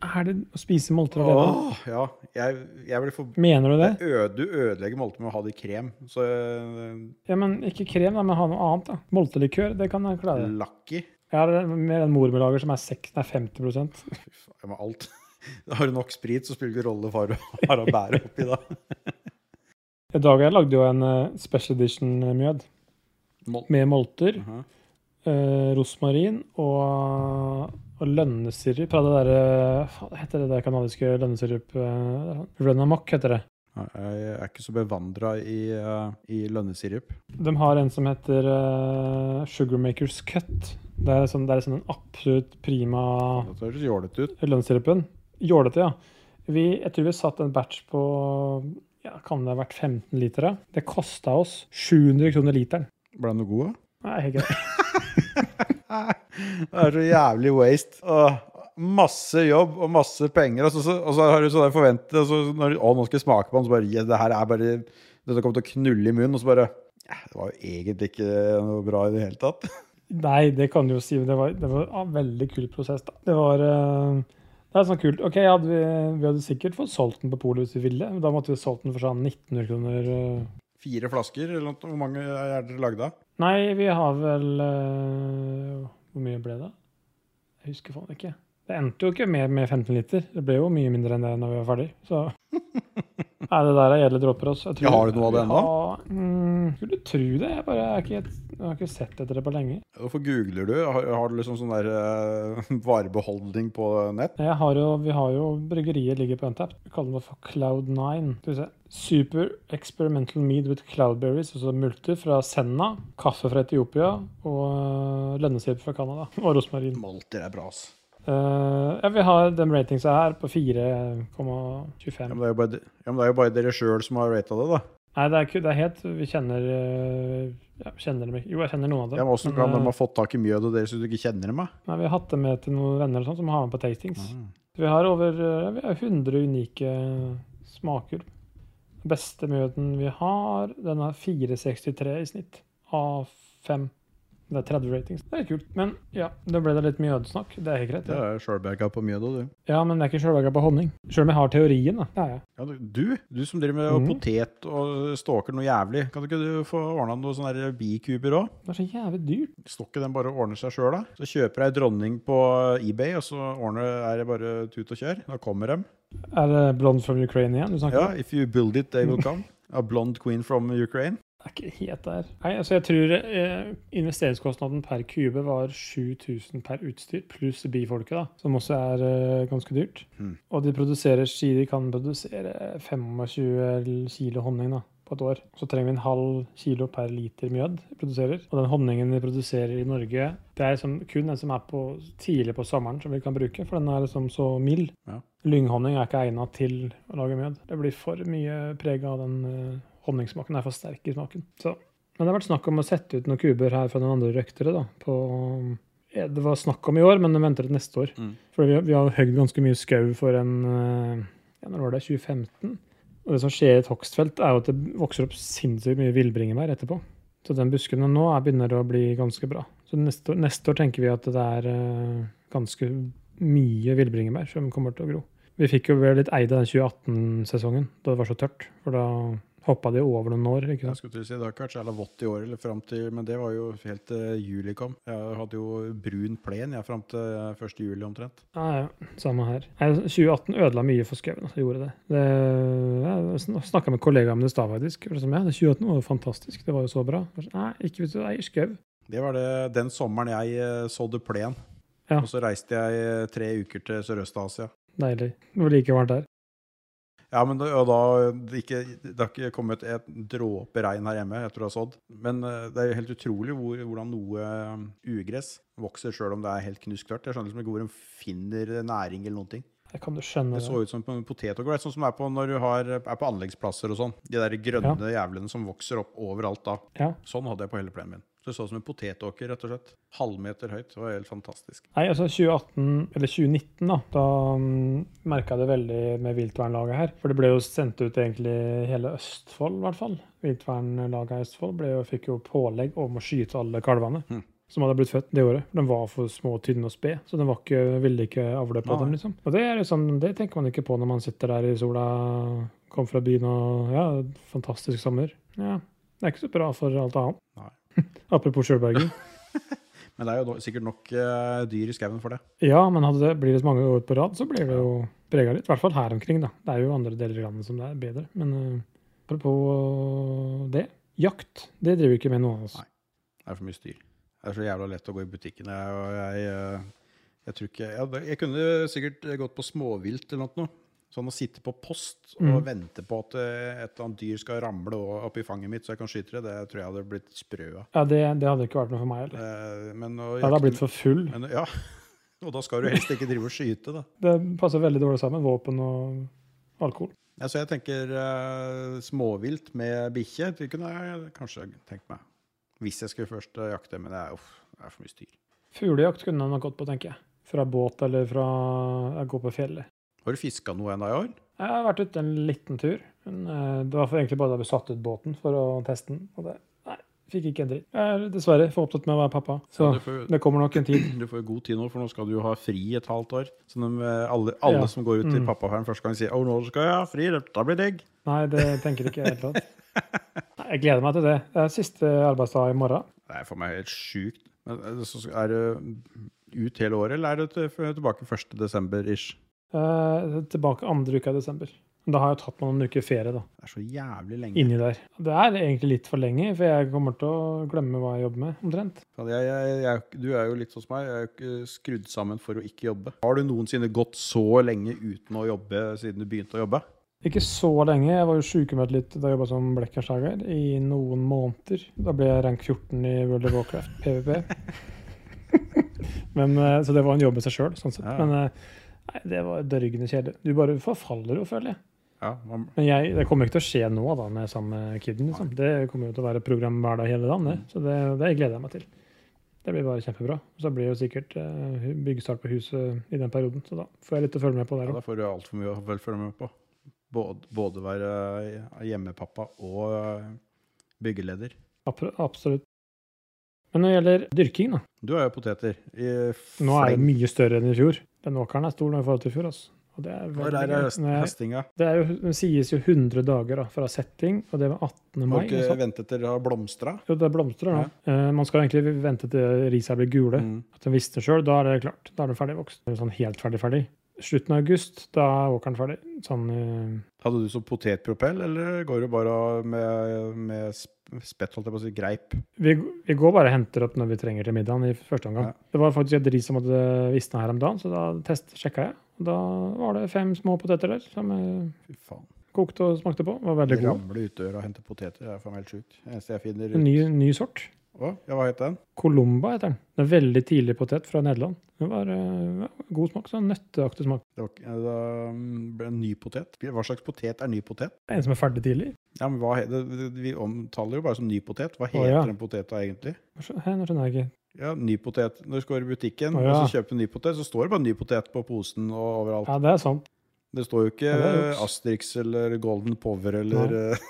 S1: Er det å spise molter alene?
S2: Åh, ja. Jeg, jeg blir for...
S1: Mener du det?
S2: Ø- Du ødelegger molter med å ha det i krem. Så eh,
S1: Ja, men ikke krem, da, men ha noe annet, da. Moltelikør, det kan jeg klare.
S2: Lucky
S1: Jeg har en- mer en mormelager som er 6, nei, 50
S2: Fy faen, med alt. [laughs] Har du nok sprit, så spiller det ikke rolle hva du [laughs] har å bære oppi da.
S1: I dag jeg lagde jo en eh, special edition-mjød
S2: Mol-
S1: med molter,
S2: Mhm.
S1: eh, rosmarin og, og lønnesirup fra det derre Hva heter det der kanadiske lønnesirup? Eh, Run amok heter det.
S2: Jeg er ikke så bevandra i, eh, i lønnesirup.
S1: De har en som heter eh, Sugarmakers Cut. Det er sånn, det er sånn en absolutt prima
S2: Det høres jålete ut.
S1: Lønnssirupen. Jålete, ja. Vi, jeg tror vi satt en batch på ja, kan det ha vært 15 liter. da? Det kosta oss 700 kroner literen.
S2: Ble den noe god, da?
S1: Nei, helt greit.
S2: Det er så jævlig waste. Åh, masse jobb og masse penger, og så, så, og så har du sånn forventet og så når, du- Å, nå skal jeg smake på den, så bare ja, det her er bare Dette kommer til å knulle i munnen, og så bare ja, Det var jo egentlig ikke noe bra i det hele tatt.
S1: [laughs] Nei, det kan du jo si. men Det var, det var en veldig kul prosess. da. Det var eh, det er sånn kult. Ok, hadde vi, vi hadde sikkert fått solgt den på polet hvis vi ville. men Da måtte vi solgt den for sånn 1900 kroner. eh.
S2: Fire flasker, eller noe, hvor mange er dere lagd av?
S1: Nei, vi har vel eh, Hvor mye ble det? Jeg husker faen ikke. Det endte jo ikke mer med 15 liter. Det ble jo mye mindre enn det når vi var ferdig. Så Nei, det der er edle dråper. altså. Jeg tror-
S2: Ja, har du noe av det ennå?
S1: Ja, mm, skulle tro det. Jeg, bare, jeg, har ikke, jeg har ikke sett etter det på lenge.
S2: Hvorfor googler du? Har, har du liksom sånn der eh, [laughs] varebeholdning på nett?
S1: Jeg har jo, vi har jo bryggeriet ligger på Untapped. Vi kaller det for Cloud9. Skal vi se. Super Experimental Mead with Cloudberries, altså multer fra Senna. Kaffe fra Etiopia og øh, lønnesirup fra Canada. Og rosmarin.
S2: Molter er bra, ass.
S1: Eh, ja, vi har den ratingsa her på
S2: Ja,
S1: 4,25.
S2: men det er jo bare, ja, men det er jo bare dere sjøl som har rata det, da.
S1: Nei, det er, ikke, det er helt Vi kjenner eh, ja, Kjenner dem ikke. Jo, jeg kjenner noen av dem.
S2: Ja, men Åssen
S1: men,
S2: kan de
S1: eh,
S2: ha fått tak i mjød og dere som du ikke kjenner dem? da?
S1: nei, vi har hatt dem med til noen venner og sånt, som har med på tastings.
S2: Mm.
S1: Vi har over eh, vi har 100 unike smaker. Den Beste mjøden vi har, den er 4,63 i snitt av 5. Det er 30 ratings. Det er kult. Men ja, da ble det litt mjødsnakk. Det er helt greit.
S2: Det
S1: det.
S2: er sjølberga på mjød og du.
S1: Ja, men det er ikke sjølvaga på honning. Sjøl om jeg har teorien, da. Ja, ja.
S2: Ja, du- du, du som driver med
S1: Mhm.
S2: potet og stalker noe jævlig, kan ikke du få ordna noen sånne der bikuber òg?
S1: Det er så jævlig dyrt.
S2: Står ikke den bare og ordner seg sjøl, da? Så kjøper jeg ei dronning på eBay, og så ordner, er det bare tut og kjør. Da kommer de.
S1: Er det Blond from Ukraine igjen du snakker
S2: Ja,
S1: om?
S2: if you build it, they will come. A blonde queen from Ukraine.
S1: er ikke helt der. Nei, altså jeg tror eh, investeringskostnaden per kube var 7000 per utstyr, pluss bifolket, da, som også er eh, ganske dyrt.
S2: Mhm.
S1: Og de produserer, sier de kan produsere 25 kilo honning da, på et år. Så trenger vi en halv kilo per liter mjød vi produserer. Og den honningen vi produserer i Norge, det er liksom kun den som er på, tidlig på sommeren som vi kan bruke, for den er liksom så mild.
S2: Ja.
S1: Lynghonning er ikke egnet til å lage mjød. Det blir for mye preg av den eh, honningsmaken. Den er for sterk i smaken. Så. Men det har vært snakk om å sette ut noen kuber her fra den andre røktere. da, på... eh, Det var snakk om i år, men de venter til neste år.
S2: Mm.
S1: For vi, vi har høgd ganske mye skau for en eh, ja, Når var det? 2015? Og det som skjer i et hogstfelt, er jo at det vokser opp sinnssykt mye villbringebær etterpå. Så den busken nå er, begynner å bli ganske bra. Så neste år, neste år tenker vi at det er eh, ganske mye villbringebær som kommer til å gro. Vi fikk jo vel litt eid av den 2018-sesongen, da det var så tørt. For da hoppa de over noen år. ikke
S2: Jeg
S1: sant?
S2: skulle til å si, Det har ikke vært så jævla vått i år, eller fram til, men det var jo helt til juli kom. Jeg hadde jo brun plen jeg fram til 1. juli omtrent.
S1: Ja, ja, samme her. Nei, 2018 ødela mye for skauen. Altså, gjorde det. det jeg snakka med kollegaer om det i stad, faktisk. Det som jeg, det 2018 var jo fantastisk. Det var jo så bra. Nei, ikke hvis du eier skau.
S2: Det var det, den sommeren jeg eh, sådde plen.
S1: Ja.
S2: Og så reiste jeg eh, tre uker til Sørøst-Asia.
S1: Deilig. Det var like varmt der.
S2: Ja, men det, og da, det, ikke, det har ikke kommet et dråpe regn her hjemme etter å ha sådd. Men eh, det er jo helt utrolig hvor, hvordan noe eh, ugress vokser sjøl om det er helt knusktørt. Jeg skjønner liksom ikke hvor de finner næring eller noen ting.
S1: Jeg kan du skjønne
S2: Det
S1: det.
S2: så ut som en potet og gress, sånn som det er på når du har, er på anleggsplasser og sånn. De der grønne jævlene som vokser opp overalt da.
S1: Ja.
S2: Sånn hadde jeg på hele plenen min. Så det så ut som en potetåker, rett og slett. Halvmeter høyt. Det var helt fantastisk.
S1: Nei, altså 2018, eller 2019 da, da um, merka jeg det veldig med viltvernlaget her. For det ble jo sendt ut egentlig hele Østfold, i hvert fall. Viltvernlaget i Østfold ble jo, fikk jo pålegg om å skyte alle kalvene.
S2: Mhm.
S1: Som hadde blitt født det året. De var for små, tynne og sped. Så de var ikke, ville ikke avle på
S2: Nei.
S1: dem, liksom. Og det, er liksom, det tenker man ikke på når man sitter der i sola, kom fra byen og Ja, fantastisk sommer. Ja. Det er ikke så bra for alt annet.
S2: Nei.
S1: [laughs] Apropos sjølberging.
S2: Men det er jo no- sikkert nok eh, dyr i skauen for det.
S1: Ja, men hadde det, blir det så mange år på rad, så blir det jo prega litt. I hvert fall her omkring, da. Det er jo andre deler av landet som det er bedre. Men eh, apropos det. Jakt, det driver ikke med altså. noen av oss.
S2: Nei. Det er for mye styr. Det er så jævla lett å gå i butikken. Jeg, og jeg, eh, jeg tror ikke jeg, jeg kunne sikkert gått på småvilt eller noe. Sånn å sitte på post og
S1: Mm.
S2: vente på at eh, et eller annet dyr skal ramle opp i fanget mitt så jeg kan skyte det, det tror jeg hadde blitt sprø av.
S1: Ja, det, det hadde ikke vært noe for meg heller.
S2: Eh, Men å
S1: Jeg hadde
S2: jakte-
S1: blitt for full.
S2: Men, ja, og da skal du helst ikke drive og skyte, da.
S1: Det passer veldig dårlig sammen, våpen og alkohol.
S2: Ja, så jeg tenker eh, småvilt med bikkje. Det kunne jeg kanskje tenkt meg. Hvis jeg skulle først eh, jakte, men det er, uff, det er for mye styr.
S1: Fuglejakt kunne han nok gått på, tenker jeg. Fra båt eller fra å gå på fjellet.
S2: Har du fiska noe ennå i år?
S1: Jeg har vært ute en liten tur. Men eh, det var for egentlig bare da vi satte ut båten for å teste den. Og det, nei, fikk ikke en dritt. Jeg er dessverre for opptatt med å være pappa. Så
S2: du, får,
S1: det kommer nok en tid.
S2: du får god tid nå, for nå skal du jo ha fri et halvt år. Så de, eh, alle, alle
S1: Ja.
S2: som går ut til
S1: Mm.
S2: pappaperm første gang, sier 'Å, nå skal jeg ha fri. Da blir det digg'.
S1: Nei, det tenker jeg ikke i det hele tatt. Nei, Jeg gleder meg til det. Det er siste arbeidsdag i morgen.
S2: Det er for meg helt sjukt. Men eh, så skal- er det ut hele året, eller er det til- tilbake 1. desember-ish?
S1: Eh, tilbake andre uka i desember. Men Da har jeg tatt meg noen uker ferie da,
S2: Det er så jævlig lenge.
S1: inni der. Det er egentlig litt for lenge, for jeg kommer til å glemme hva jeg jobber med, omtrent.
S2: Faen, Jeg, jeg, jeg, du er jo litt sånn som meg. Jeg er jo ikke skrudd sammen for å ikke jobbe. Har du noensinne gått så lenge uten å jobbe siden du begynte å jobbe?
S1: Ikke så lenge. Jeg var jo sykemeldt litt da jeg jobba som blekkerslager i noen måneder. Da ble jeg rank 14 i World of Warcraft, PVP. [laughs] Men, eh, så det var en jobb i seg sjøl, sånn sett.
S2: Ja.
S1: Men eh, nei, det var dørgende kjedelig. Du bare forfaller jo, føler jeg.
S2: Ja, man,
S1: Men jeg, det kommer ikke til å skje nå da, med samme kiden. Liksom. Det kommer jo til å være program hver dag hele dagen. Det. Så det, det gleder jeg meg til. Det blir bare kjempebra. Og så blir det jo sikkert eh, hu- byggestart på huset i den perioden. Så da får jeg litt å følge med på
S2: ja,
S1: der
S2: da
S1: òg.
S2: får du altfor mye å vel følge med på. Både, både være eh, hjemmepappa og eh, byggeleder.
S1: Absolutt. Men når det gjelder dyrking, da.
S2: Du har jo poteter. I
S1: Nå er det
S2: fleng.
S1: mye større enn i fjor. Den åkeren er stor nå i forhold til i fjor. Altså. Og det er
S2: Når
S1: veldig
S2: er det høst,
S1: gøy. Nei,
S2: høstinga?
S1: det er jo, det sies jo 100 dager da, fra setting, og det var 18.
S2: Må
S1: mai.
S2: ikke
S1: altså.
S2: vente til det har blomstra.
S1: Jo, det blomstrer nå. Eh, man skal egentlig vente til risa blir gule.
S2: Mm.
S1: At den visner sjøl, da er det klart. Da er den ferdig vokst. Den er Sånn helt ferdig ferdig. slutten av august, da er walkeren ferdig. Sånn eh,
S2: Hadde du så potetpropell, eller går du bare med, med sp- spett, holdt jeg på å si, greip?
S1: Vi, vi går bare og henter opp når vi trenger til middagen i første omgang.
S2: Ja.
S1: Det var faktisk et ris som hadde visna her om dagen, så da test sjekka jeg. Og da var det fem små poteter der som jeg
S2: Fy faen.
S1: kokte og smakte på. Var veldig gode.
S2: Ramle ut døra og hente poteter, det er faen helt sjukt. Det eneste jeg finner
S1: En
S2: ut.
S1: ny, ny sort.
S2: Å, ja, hva het den?
S1: Columba heter den. En veldig tidlig potet fra Nederland. Det var eh, ja, god smak, sånn nøtteaktig smak.
S2: Det var, ikke- eh, da ble det en ny potet. Hva slags potet er ny potet?
S1: En som er ferdig tidlig.
S2: Ja, men hva, he- det, det, vi omtaler jo bare som ny potet. Hva
S1: Å,
S2: heter
S1: ja.
S2: den poteta egentlig?
S1: Hva skj- Hæ, nå skjønner jeg ikke.
S2: Ja, ny potet. Når du går i butikken
S1: Å, ja.
S2: og så kjøper du ny potet, så står det bare ny potet på posen og overalt.
S1: Ja, det er sånn. sant.
S2: Det står jo ikke
S1: Ja, det er juks.
S2: Asterix eller Golden Power eller eh,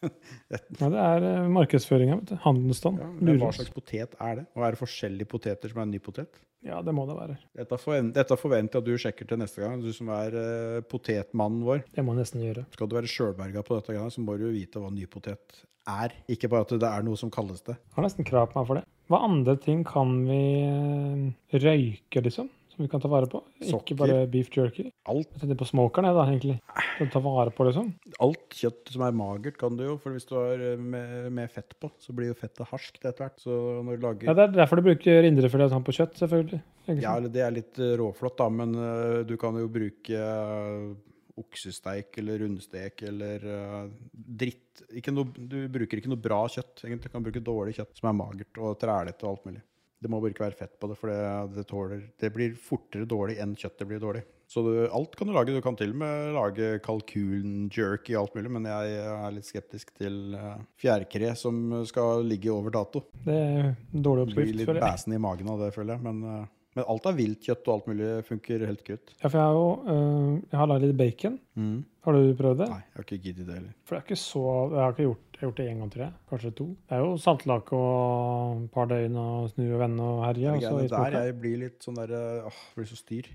S1: Ja, det er eh, markedsføringa, vet du. Handelsstand.
S2: ja, [laughs] men Hva
S1: Lurer oss.
S2: slags potet er det? Og er det forskjellige poteter som er ny potet?
S1: Ja, det må det være.
S2: Dette, forven- dette forventer jeg at du sjekker til neste gang, du som er eh, potetmannen vår.
S1: Det må jeg nesten gjøre.
S2: Skal du være sjølberga på dette, greiene, så må du jo vite hva ny potet er. Ikke bare at det er noe som kalles det.
S1: Jeg har nesten krav på meg for det. Hva andre ting kan vi eh, røyke, liksom? Som vi kan ta vare på?
S2: Sokker.
S1: Ikke bare beef jerky.
S2: Alt.
S1: Jeg tenkte på smokeren, jeg, da, egentlig. Til å ta vare på, liksom.
S2: Alt kjøtt som er magert, kan du jo, for hvis du har eh, med, med fett på, så blir jo fettet harskt etter hvert. Så når du lager
S1: Ja, det er derfor du bruker indrefilet sånn på kjøtt, selvfølgelig. Ikke
S2: Ja,
S1: sant?
S2: eller det er litt eh, råflott, da, men eh, du kan jo bruke eh, oksesteik eller rundstek eller eh, dritt ikke noe, Du bruker ikke noe bra kjøtt, egentlig. Du kan bruke dårlig kjøtt som er magert og trælete og alt mulig. Det må bare ikke være fett på det, for det, det, tåler, det blir fortere dårlig enn kjøttet blir dårlig. Så du, alt kan du lage. Du kan til og med lage kalkunjerky og alt mulig, men jeg eh, er litt skeptisk til eh, fjærkre som skal ligge over dato.
S1: Det er en dårlig
S2: Blir
S1: oppskrift,
S2: litt
S1: føler jeg.
S2: bæsen i magen av det, føler jeg. Men, eh, men alt av viltkjøtt og alt mulig funker helt kutt.
S1: Ja, for jeg har jo eh, jeg har lagd litt bacon. Har du prøvd det?
S2: Nei, jeg har ikke giddet det heller.
S1: For det er ikke så Jeg har ikke gjort, jeg har gjort det én gang, tror jeg. Kanskje to. Det er jo saltlake og et par døgn og snu og vende og herje.
S2: Det
S1: og så i
S2: greiene der
S1: smoker.
S2: jeg blir litt sånn der eh, Åh, blir så styr.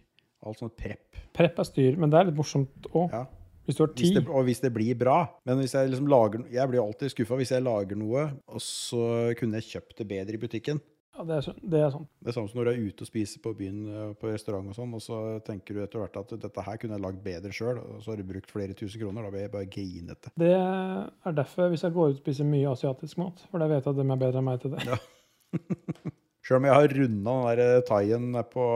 S2: Alt sånn prepp.
S1: Prepp er styr, men det er litt morsomt òg.
S2: Ja.
S1: Hvis du har
S2: Hvis
S1: tid.
S2: det, og hvis det blir bra. Men hvis jeg liksom lager no- Jeg blir alltid skuffa hvis jeg lager noe, og så kunne jeg kjøpt det bedre i butikken.
S1: Ja, det er, så- det er sånn. sant.
S2: Det er samme som når du er ute og spiser på byen eh, på restaurant og sånn, og så tenker du etter hvert at dette her kunne jeg lagd bedre sjøl, og så har du brukt flere tusen kroner. Da blir jeg bare grinete.
S1: Det er derfor hvis jeg går ut og spiser mye asiatisk mat, for da vet jeg at de er bedre enn meg til det. [laughs]
S2: Sjøl om jeg har runda den der eh, thaien nede på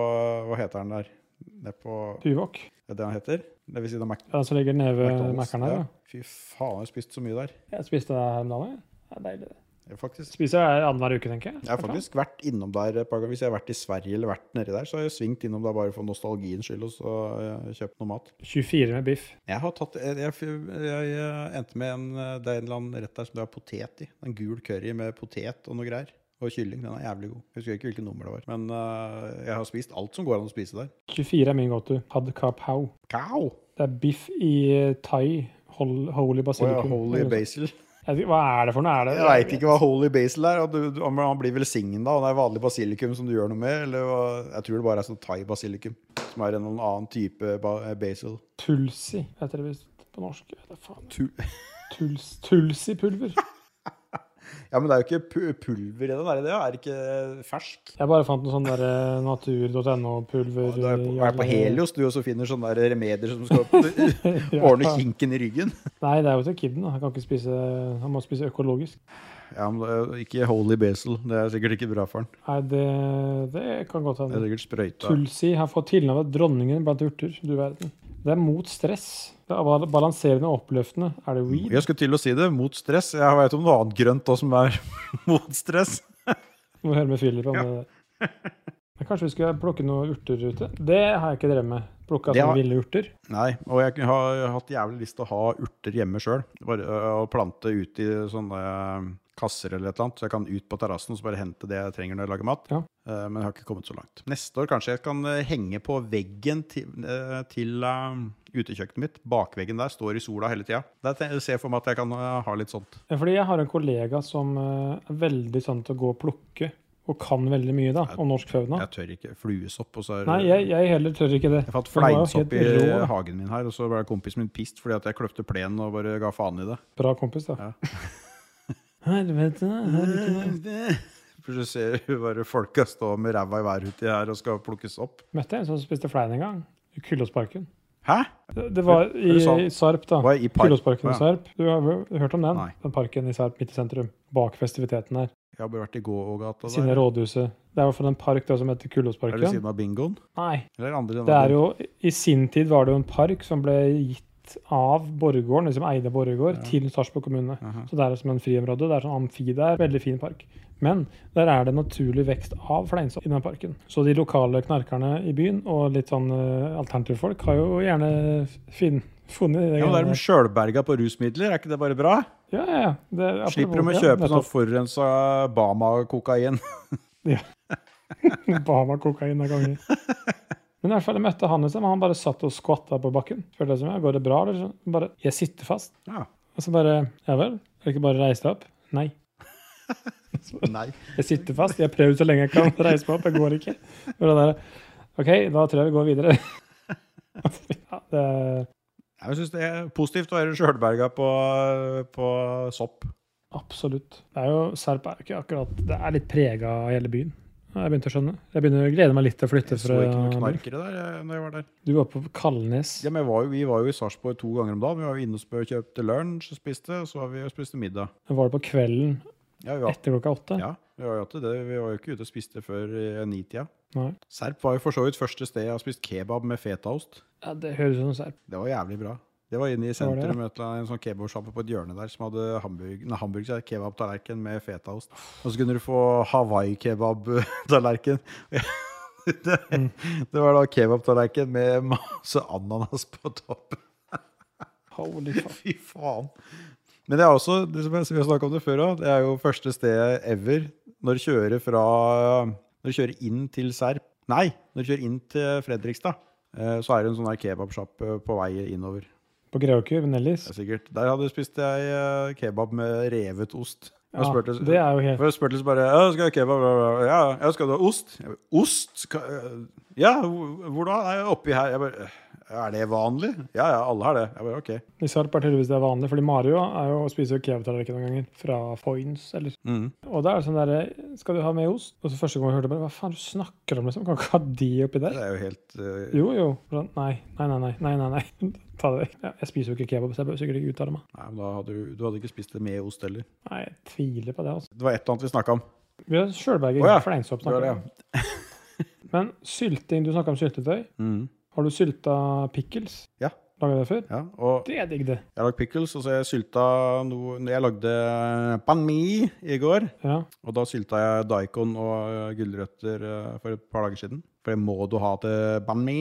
S2: Hva heter den der? Nede på
S1: Tuvok.
S2: Er det det den heter? Det vil si det er Mac
S1: Ja, så ligger den nede ved
S2: McDonald's.
S1: Mækkern her.
S2: Ja.
S1: da.
S2: Fy faen, jeg har spist så mye der.
S1: Jeg spiste det her om dagen. jeg. Det er deilig, det.
S2: Jeg har faktisk,
S1: Spiser jeg annenhver uke, tenker jeg.
S2: jeg har faktisk vært innom der et par ganger. Hvis jeg har vært i Sverige eller vært nedi der, så har jeg svingt innom der bare for nostalgiens skyld og så eh, kjøpt noe mat.
S1: 24 med biff.
S2: Jeg har tatt Jeg, jeg, jeg endte med en eh, Det er en eller annen rett der som det er potet i. En gul curry med potet og noe greier. Og kylling. Den er jævlig god. Jeg husker ikke hvilket nummer det var. Men eh, jeg har spist alt som går an å spise der.
S1: 24 er min go-to. Pad Kap How.
S2: Cow!
S1: Det er biff i thai. Hol holy
S2: Å ja,
S1: basilikum.
S2: holy
S1: Eller noe sånt.
S2: basil.
S1: Jeg vet ikke- Hva er det for noe? Er det?
S2: Jeg veit ikke hva holy basil er. Og du, du, men han blir velsignet da, og det er vanlig basilikum som du gjør noe med? Eller hva? Jeg tror det bare er sånn thai-basilikum, som er en eller annen type ba- eh, basil.
S1: Tulsi heter det visst på norsk. Jeg vet da faen.
S2: Tu
S1: Tuls Tulsipulver.
S2: ja, men det er jo ikke pu- pulver i den, er det det? Er det ikke eh, fersk?
S1: Jeg bare fant noe sånn der natur.no-pulver.
S2: Du er på, er på Helios, du, og så finner sånne der remedier som
S1: [laughs]
S2: skal
S1: Ja.
S2: [laughs] ordne kinken i ryggen.
S1: Nei, det er jo til kiden. da. Han kan ikke spise, han må spise økologisk.
S2: Ja, men det er Ikke holy basil. Det er sikkert ikke bra for den.
S1: Nei, det, det kan godt
S2: Det er
S1: hende.
S2: sikkert sprøyta.
S1: Tulsi har fått tilnavnet dronningen blant urter. Du verden. Det er mot stress. Det er bal- balanserende og oppløftende. Er det weed?
S2: Jeg skulle til å si det. Mot stress. Jeg veit om noe annet grønt òg som er [laughs] mot stress.
S1: Må høre med Philip om det der. Men kanskje vi skulle plukke noen urter ute? Det har jeg ikke drevet med. Plukka
S2: Det
S1: sånne
S2: har-
S1: ville urter.
S2: Nei, og jeg har hatt jævlig lyst til å ha urter hjemme sjøl. Å plante ut i sånne øh, kasser eller et eller annet, så jeg kan ut på terrassen og så bare hente det jeg trenger når jeg lager mat.
S1: Ja.
S2: Eh, Men jeg har ikke kommet så langt. Neste år kanskje jeg kan eh, henge på veggen til, eh, til eh, utekjøkkenet mitt. Bakveggen der står i sola hele tida. Der te- ser jeg for meg at jeg kan eh, ha litt sånt.
S1: Ja, Fordi jeg har en kollega som eh, er veldig sånn til å gå og plukke, og kan veldig mye da, om norsk fauna.
S2: Jeg tør ikke fluesopp. og så er
S1: Nei, jeg, jeg heller tør ikke det.
S2: Jeg fant
S1: Den var jo
S2: fleinsopp i
S1: helt rå.
S2: hagen min her, og så ble kompisen min pist fordi at jeg kløpte plenen og bare ga faen i det.
S1: Bra kompis, da. [laughs]
S2: Ja.
S1: Helvete, helvete.
S2: [laughs] For så ser du bare folka stå med ræva i været uti her og skal plukkes opp.
S1: Møtte en som spiste flein en gang. Kyllåsparken.
S2: Hæ?
S1: Det, det var
S2: sånn. Er
S1: i
S2: det sant?
S1: Sarp, da.
S2: Var jeg i park?
S1: Kyllåsparken i
S2: Å, ja.
S1: Sarp. Du har vel hørt om den?
S2: Nei.
S1: Den parken i Sarp midt i sentrum. Bak festiviteten her.
S2: Jeg har bare vært i Gåågata
S1: Siden av
S2: der.
S1: rådhuset. Det er i hvert fall en park da, som heter
S2: Er det ved
S1: Kyllåsparken.
S2: siden av bingoen?
S1: Nei.
S2: Eller andre
S1: Det er jo, I sin tid var det jo en park som ble gitt av Borregaarden, liksom eide av Borregaard,
S2: Ja.
S1: til Sarpsborg kommune.
S2: Aha.
S1: Så det er som en friområde. Det er sånn amfi der. Veldig fin park. Men der er det naturlig vekst av fleinsopp i den parken. Så de lokale knarkerne i byen og litt sånn uh, alternativfolk har jo gjerne fin, funnet det
S2: Ja, men da er
S1: greiene
S2: de
S1: der. sjølberga
S2: sjølberga på rusmidler, er ikke det bare bra?
S1: ja, ja, ja. Det er absolutt-
S2: Slipper de å
S1: ja,
S2: kjøpe sånn
S1: nettopp.
S2: forurensa Bama-kokain? [laughs] sånn.
S1: [laughs] Bahama-kokain av
S2: [laughs]
S1: gangen. Men i hvert fall, jeg møtte han, liksom, og han bare satt og skvatta på bakken. Spurte jeg som, ja, går det bra? Eller sånn. Bare, jeg sitter fast.
S2: Ja.
S1: Og så bare Ja vel? Kan du ikke bare reise deg opp? Nei.
S2: Nei.
S1: Jeg sitter fast. Jeg har prøvd så lenge jeg kan å reise meg opp. Jeg går ikke. Og det der, OK, da tror jeg vi går videre. [laughs] ja, det,
S2: Jeg syns det er positivt å være sjølberga på, på sopp.
S1: absolutt. Det er jo Serp er jo ikke akkurat Det er litt prega av hele byen. har Jeg begynte å skjønne. Jeg begynner å glede meg litt til å flytte
S2: Jeg så
S1: fra
S2: ikke noen knarkere der eh, når jeg var der.
S1: Du var på Kalnes.
S2: Ja, men jeg var jo, vi var jo i Sarpsborg to ganger om dagen. Vi var jo inne og spø- kjøpte lunsj og spiste, og så var vi og spiste middag.
S1: Var det på kvelden
S2: Ja, vi var,
S1: etter klokka åtte?
S2: ja, vi var jo alltid det. Vi var jo ikke ute og spiste før eh, nitida.
S1: Nei.
S2: Serp var jo for så vidt første sted jeg har spist kebab med fetaost.
S1: Ja, det høres ut som Serp.
S2: Det var jævlig bra. Det var inne i
S1: var det,
S2: sentrum, et eller annet- en sånn kebabsjappe på et hjørne der som hadde hamburg, nei, hamburg, sier jeg, kebabtallerken med fetaost. Og så kunne du få Hawaii-kebabtallerken. [laughs] Det, det var da kebabtallerken med masse ananas på toppen.
S1: Holy fuck.
S2: [laughs] Fy faen. Men det er også, det som jeg, som vi har snakket om det før også, det er jo første stedet ever når du kjører fra Når du kjører inn til Serp Nei, når du kjører inn til Fredrikstad, eh, så er det en sånn her kebabsjappe på vei innover.
S1: På Greåker, ved Nellis.
S2: Det er sikkert. Der hadde spist jeg eh, kebab med revet ost. Jeg
S1: Ja,
S2: spurte,
S1: det er jo helt
S2: for jeg spurte så bare ja, skal jeg ha kebab? Ja, ja, Ja, ja, skal du ha ost? Jeg bare, ost? Skal, eh, ja, hvor hvor da? Nei, oppi her. Jeg bare, «Eh, er det vanlig? Ja, ja, alle har det. Jeg bare, ok.
S1: I Sarp er tydeligvis det er vanlig, fordi Mario er jo, spiser jo kebabtallerken noen ganger. Fra Foynes, eller
S2: Mhm.
S1: Og da er det sånn derre Skal du ha med ost? Og så første gang jeg hørte det, bare, hva faen du snakker om, liksom? Kan ikke ha de oppi der?
S2: Det er jo helt eh,
S1: Jo, jo. Sånn, Nei, nei, nei, nei. nei, nei, nei. [laughs] Ta det vekk. Ja, jeg spiser jo ikke kebab, så jeg bør sikkert ikke uttale meg.
S2: Nei, men da hadde du, du hadde ikke spist det med ost heller.
S1: Nei, jeg tviler på det, altså.
S2: Det var et eller annet vi snakka om.
S1: Vi har sjølberger.
S2: Å ja,
S1: Fleinsopp
S2: det var
S1: snakker vi om. Men sylting Du snakka om syltetøy.
S2: Mhm.
S1: Har du sylta pickles?
S2: Ja.
S1: Laga det før?
S2: Ja, og
S1: Det er digg, det.
S2: jeg har lagd pickles, og så har jeg sylta noe Jeg lagde pan mi i går.
S1: Ja.
S2: Og da sylta jeg daikon og eh, gulrøtter eh, for et par dager siden. For det må du ha til banh mi.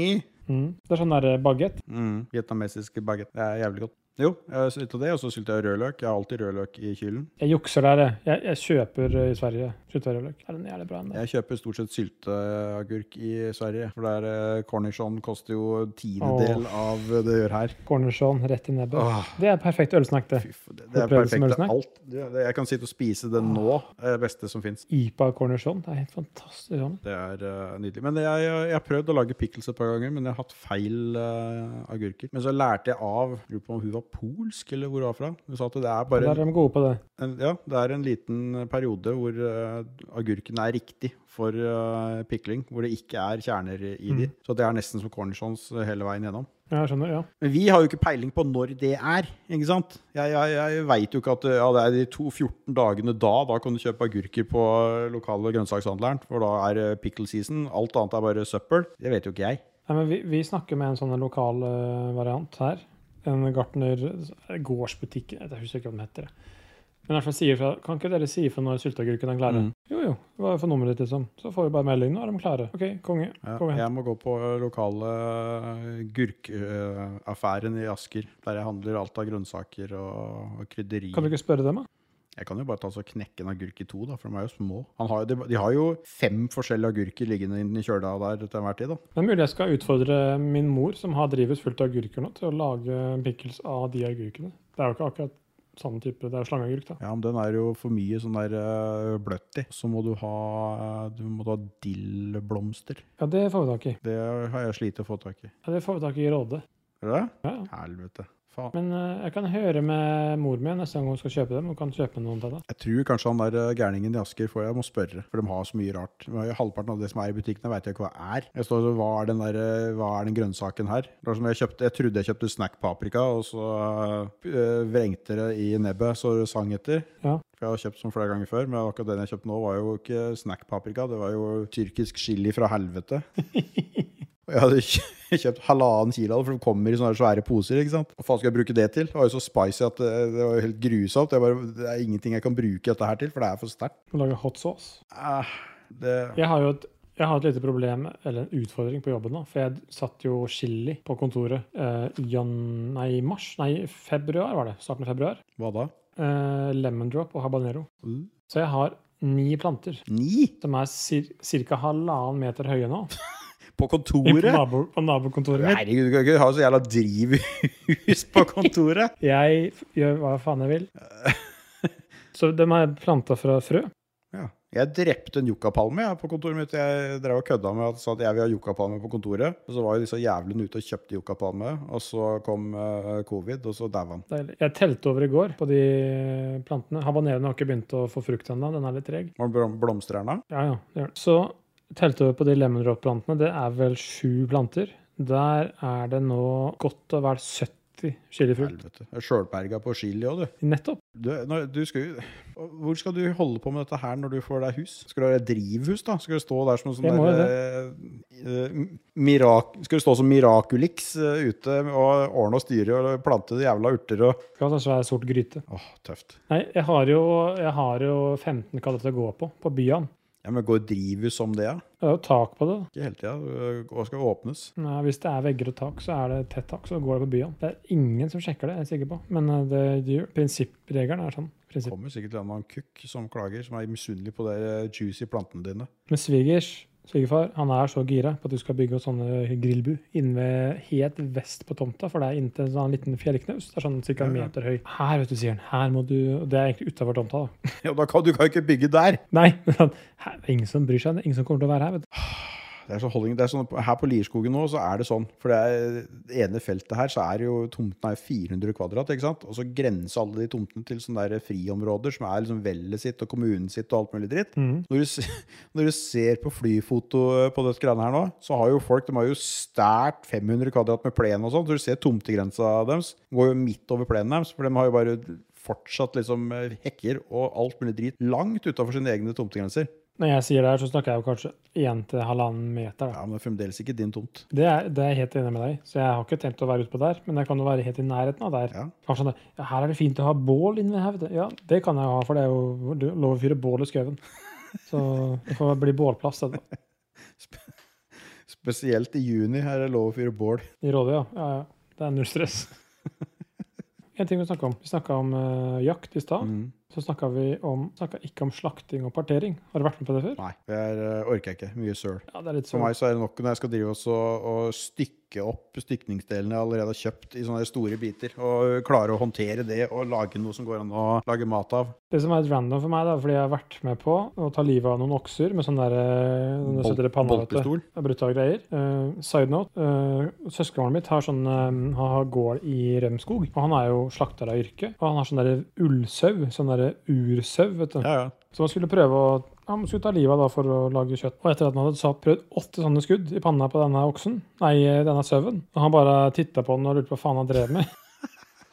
S1: Mm. Det er sånn derre bagett.
S2: Mm. Vietnamesisk bagett. Det er jævlig godt. Jo, jeg sylta det, og så sylta jeg rødløk. Jeg har alltid rødløk i kylen.
S1: Jeg jukser der, jeg. Jeg, jeg kjøper eh, i Sverige syltetøyrødløk. Er den jævlig bra? Den der?
S2: Jeg kjøper stort sett sylteagurk i Sverige, for der eh, cornichon koster jo en tiendedel av det gjør her.
S1: Cornershon rett i nebbet.
S2: Åh.
S1: Det er perfekt ølsnakk, det.
S2: Fy f- Det, det er
S1: Opplevelse med
S2: perfekt. Det
S1: snacks.
S2: er alt. Det- det- Jeg kan sitte og spise det nå. Det er det beste som fins.
S1: IPA cornershon. Det er helt fantastisk. Sånn.
S2: Det er eh, nydelig. Men jeg, jeg, jeg har prøvd å lage pickles et par ganger, men jeg har hatt feil eh, agurker. Men så lærte jeg av jeg Lurer på om hun var polsk, eller hvor hun var fra. Hun sa at det er
S1: Der
S2: bare
S1: er de gode på det.
S2: en, ja, det er en liten periode hvor eh, agurken er riktig for eh, pikling. Hvor det ikke er kjerner i de. Så det er nesten som cornichons hele veien gjennom.
S1: Ja, jeg skjønner. Ja.
S2: Men vi har jo ikke peiling på når det er, ikke sant? Jeg, jeg, jeg veit jo ikke at ja, det er de to 14 dagene da, da kan du kjøpe agurker på lokale grønnsakshandleren, for da er det pickle season. Alt annet er bare søppel. Det vet jo ikke jeg.
S1: Nei, men vi, vi snakker med en sånn lokal eh, variant her. En gartner gårdsbutikk Jeg husker ikke hva den heter. Men i hvert fall sier fra, Kan ikke dere si fra når sylteagurkene er klare?
S2: Mm.
S1: Jo, jo. Hva er for nummeret ditt, liksom? Så får vi bare melding. Nå er de klare. OK, konge.
S2: Ja,
S1: Kom igjen.
S2: jeg må gå på eh, lokale gurkaffæren eh, i Asker, der jeg handler alt av grønnsaker og, og krydderi.
S1: Kan du ikke spørre dem, da?
S2: Jeg kan jo bare ta så knekke en agurk i to, da, for de er jo små. Han har, jo- de, de har jo fem forskjellige agurker liggende inni kjøla der til enhver tid. da.
S1: Det er mulig jeg skal utfordre min mor, som har drivhus fullt av agurker nå, til å lage pickles av de agurkene. Det er jo ikke akkurat samme type, det er jo slangeagurk, da.
S2: Ja, men den er jo for mye sånn der eh, bløtt i. Så må du ha, eh, du må ha dillblomster.
S1: Ja, det får vi tak i.
S2: Det har jeg slitt å få tak i.
S1: Ja, det får vi tak i i Råde.
S2: Er det det?
S1: Ja, ja.
S2: Helvete. faen.
S1: Men eh, jeg kan høre med mor mi neste gang hun skal kjøpe dem. Hun kan kjøpe noen til deg.
S2: Jeg tror kanskje han der eh, gærningen i Asker får jeg må spørre, for de har så mye rart. De har jo Halvparten av det som er i butikkene, veit jeg ikke hva er. Jeg står og hva er den der, eh, hva er den grønnsaken her? Det var som jeg, kjøpte, jeg trodde jeg kjøpte snackpaprika, og så eh, vrengte det i nebbet, så det sang etter.
S1: Ja.
S2: For jeg har kjøpt sånn flere ganger før, men akkurat den jeg kjøpte nå, var jo ikke snackpaprika, det var jo tyrkisk chili fra helvete. Og jeg hadde kjø- [laughs] kjøpt halvannen kilo, av det, for det kommer i sånne svære poser. ikke sant? Hva faen skal jeg bruke det til? Det var jo så spicy at det, det var jo helt grusomt. Jeg bare, det er ingenting jeg kan bruke dette her til, for det er for sterkt.
S1: Hun lager hot sauce.
S2: Eh, det,
S1: Jeg har jo et, jeg har et lite problem, eller en utfordring, på jobben nå. For jeg satt jo chili på kontoret eh, i jan- nei, i mars. Nei, februar var det. Starten av februar.
S2: hva da?
S1: Eh, lemon drop og habanero.
S2: Uh,
S1: Så jeg har ni planter.
S2: Ni?
S1: Som er ca. halvannen meter høye nå.
S2: På
S1: I- På,
S2: kontoret?
S1: nabo, på nabokontoret mitt.
S2: Herregud, du kan ikke ha så jævla drivhus på kontoret!
S1: Jeg f- gjør hva faen jeg vil. Så de er planta fra frø.
S2: Ja. Jeg drepte en yuccapalme jeg, på kontoret mitt. Jeg drev og kødda med at, sa at jeg vil ha yuccapalme på kontoret. Og så var jo disse jævlene ute og kjøpte yuccapalme, og så kom eh, covid, og så daua han.
S1: Deilig. Jeg telte over i går på de eh, plantene. Habaneroen har ikke begynt å få frukt ennå. Den er litt treg.
S2: Var det blom- blomster her da?
S1: Ja, ja, det gjør det. Så telte over på de lemon drop-plantene. Det er vel sju planter. Der er det nå godt og vel 70 chilifrukt.
S2: Helvete. Sjølberga på chili òg, du.
S1: Nettopp.
S2: Du, når, du skal, jo- hvor skal du holde på med dette her når du får deg hus? Skal du ha deg drivhus, da? Skal du stå der som en sånn
S1: Jeg må jo
S2: der, eh, mirak, Skal du stå som Miraculix eh, ute og ordne og styre og plante de jævla urter og
S1: Skal ha en svær, sort gryte.
S2: Åh, tøft.
S1: Nei, jeg har jo, jeg har jo 15 kaller til å gå på, på byen.
S2: Ja, men går drivhus som det, ja?
S1: Det er jo tak på det.
S2: Ikke hele tida. Du går- skal åpnes.
S1: Nei, hvis det er vegger og tak, så er det tett tak, så går det på byen. Det er ingen som sjekker det, jeg er sikker på. Men eh, det de gjør. Prinsippregelen er sånn.
S2: Det
S1: Prinsipp.
S2: kommer sikkert en eller annen kukk som klager, som er misunnelig på de eh, juicy plantene dine. [laughs]
S1: Men svigers, svigerfar, han er så gira på at du skal bygge sånne grillbu inne ved helt vest på tomta, for det er inntil en sånn liten fjellknaus. Det er sånn ca. en
S2: Ja, ja.
S1: meter høy. Her, vet du, sier han. Her må du og Det er egentlig utafor tomta, da.
S2: Ja, da kan, Du kan ikke bygge der!
S1: Nei, [laughs] men han- her, det er ingen som bryr seg. Det er ingen som kommer til å være her, vet du.
S2: Det er så holdning, det er sånn, her på Lierskogen nå, så er det sånn. For det, er, det ene feltet her, så er jo tomten er 400 kvadrat, ikke sant? Og så grenser alle de tomtene til sånne der friområder som er liksom vellet sitt og kommunen sitt og alt mulig dritt. Når, du, se- [laughs] når du ser på flyfoto eh, på dette greiene her nå, så har jo folk, de har jo stært 500 kvadrat med plen og sånn, så du ser tomtegrensa deres, går jo midt over plenen deres, for de har jo bare fortsatt liksom hekker og alt mulig dritt langt utenfor sine egne tomtegrenser.
S1: Når jeg sier det her, så snakker jeg jo kanskje én til halvannen meter, da.
S2: Ja, men det er fremdeles ikke din tomt.
S1: Det er, det er jeg helt enig med deg i. så jeg har ikke tenkt å være utpå der. Men jeg kan jo være helt i nærheten av der.
S2: Ja.
S1: Kanskje det, ja, her er det fint å ha bål inne her, vet du. Ja, det kan jeg jo ha, for det er jo du, lov å fyre bål i skauen. Så det får bli bålplass, det. da.
S2: Spesielt i juni her er det lov å fyre bål.
S1: I Råde, ja. ja, ja. Det er null stress. En ting vi snakka om. Vi snakka om eh, jakt i
S2: Mm.
S1: stad. Så snakka vi om, snakket ikke om slakting og partering. Har du vært med på det før?
S2: Nei, det er, eh, orker jeg ikke. Mye søl.
S1: Ja, det er litt
S2: For
S1: sånn.
S2: meg så er det nok når jeg skal drive også, og stykke opp stykningsdelene jeg allerede har kjøpt i sånne store biter, og klare å håndtere det og lage noe som går an å lage mat av.
S1: Det som er litt random for meg, da, fordi jeg har vært med på å ta livet av noen okser med sånn der eh, når du
S2: Bolt-
S1: setter i panna, vet du.
S2: boltpistol.
S1: Det er brutale greier. Eh, side note. Uh, Søskenbarnet mitt har sånn, eh, han har gård i Rømskog. Og han er jo slakter av yrke. Og han har sånn derre ullsau. Sånn derre ursau, vet du.
S2: Ja, ja.
S1: Så han skulle prøve å han skulle ta livet av da for å lage kjøtt. Og etter at han hadde sa- prøvd åtte sånne skudd i panna på denne oksen, nei, denne sauen, og han bare titta på den og lurte på hva faen han drev med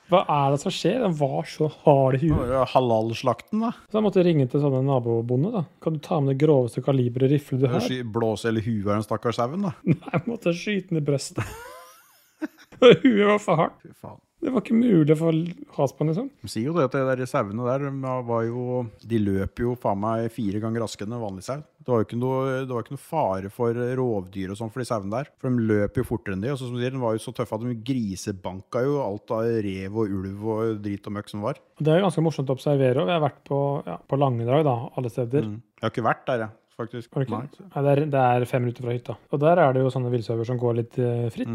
S1: Hva er det som skjer? Den var så hard i
S2: Det
S1: huet.
S2: var jo Halalslakten, da.
S1: Så jeg måtte ringe til sånne nabobonde. da. Kan du ta med det groveste kaliberet rifle du
S2: Det er
S1: har?
S2: å sky- Blåse hele huet av den stakkars sauen, da.
S1: Jeg måtte skyte den i brøstet. [laughs] Huet var for hardt.
S2: Fy faen.
S1: Det var ikke mulig å få has på den, liksom.
S2: De sier jo det at de der sauene der de var jo De løp jo faen meg fire ganger raskere enn en vanlig sau. Det var jo ikke noe, det var ikke noe fare for rovdyr og sånn for de sauene der. For de løp jo fortere enn de. Og så som du sier, de var jo så tøffe at de grisebanka jo alt av rev og ulv og drit og møkk som var.
S1: Og Det er jo ganske morsomt å observere. og Vi har vært på, ja, på Langedrag, da, alle steder.
S2: Jeg har ikke vært der, jeg, faktisk.
S1: Mm. Har du ikke?
S2: Mm. Nei. Mm.
S1: Nei, det, er, det er fem minutter fra hytta. Og der er det jo sånne villsauer som går litt eh, fritt.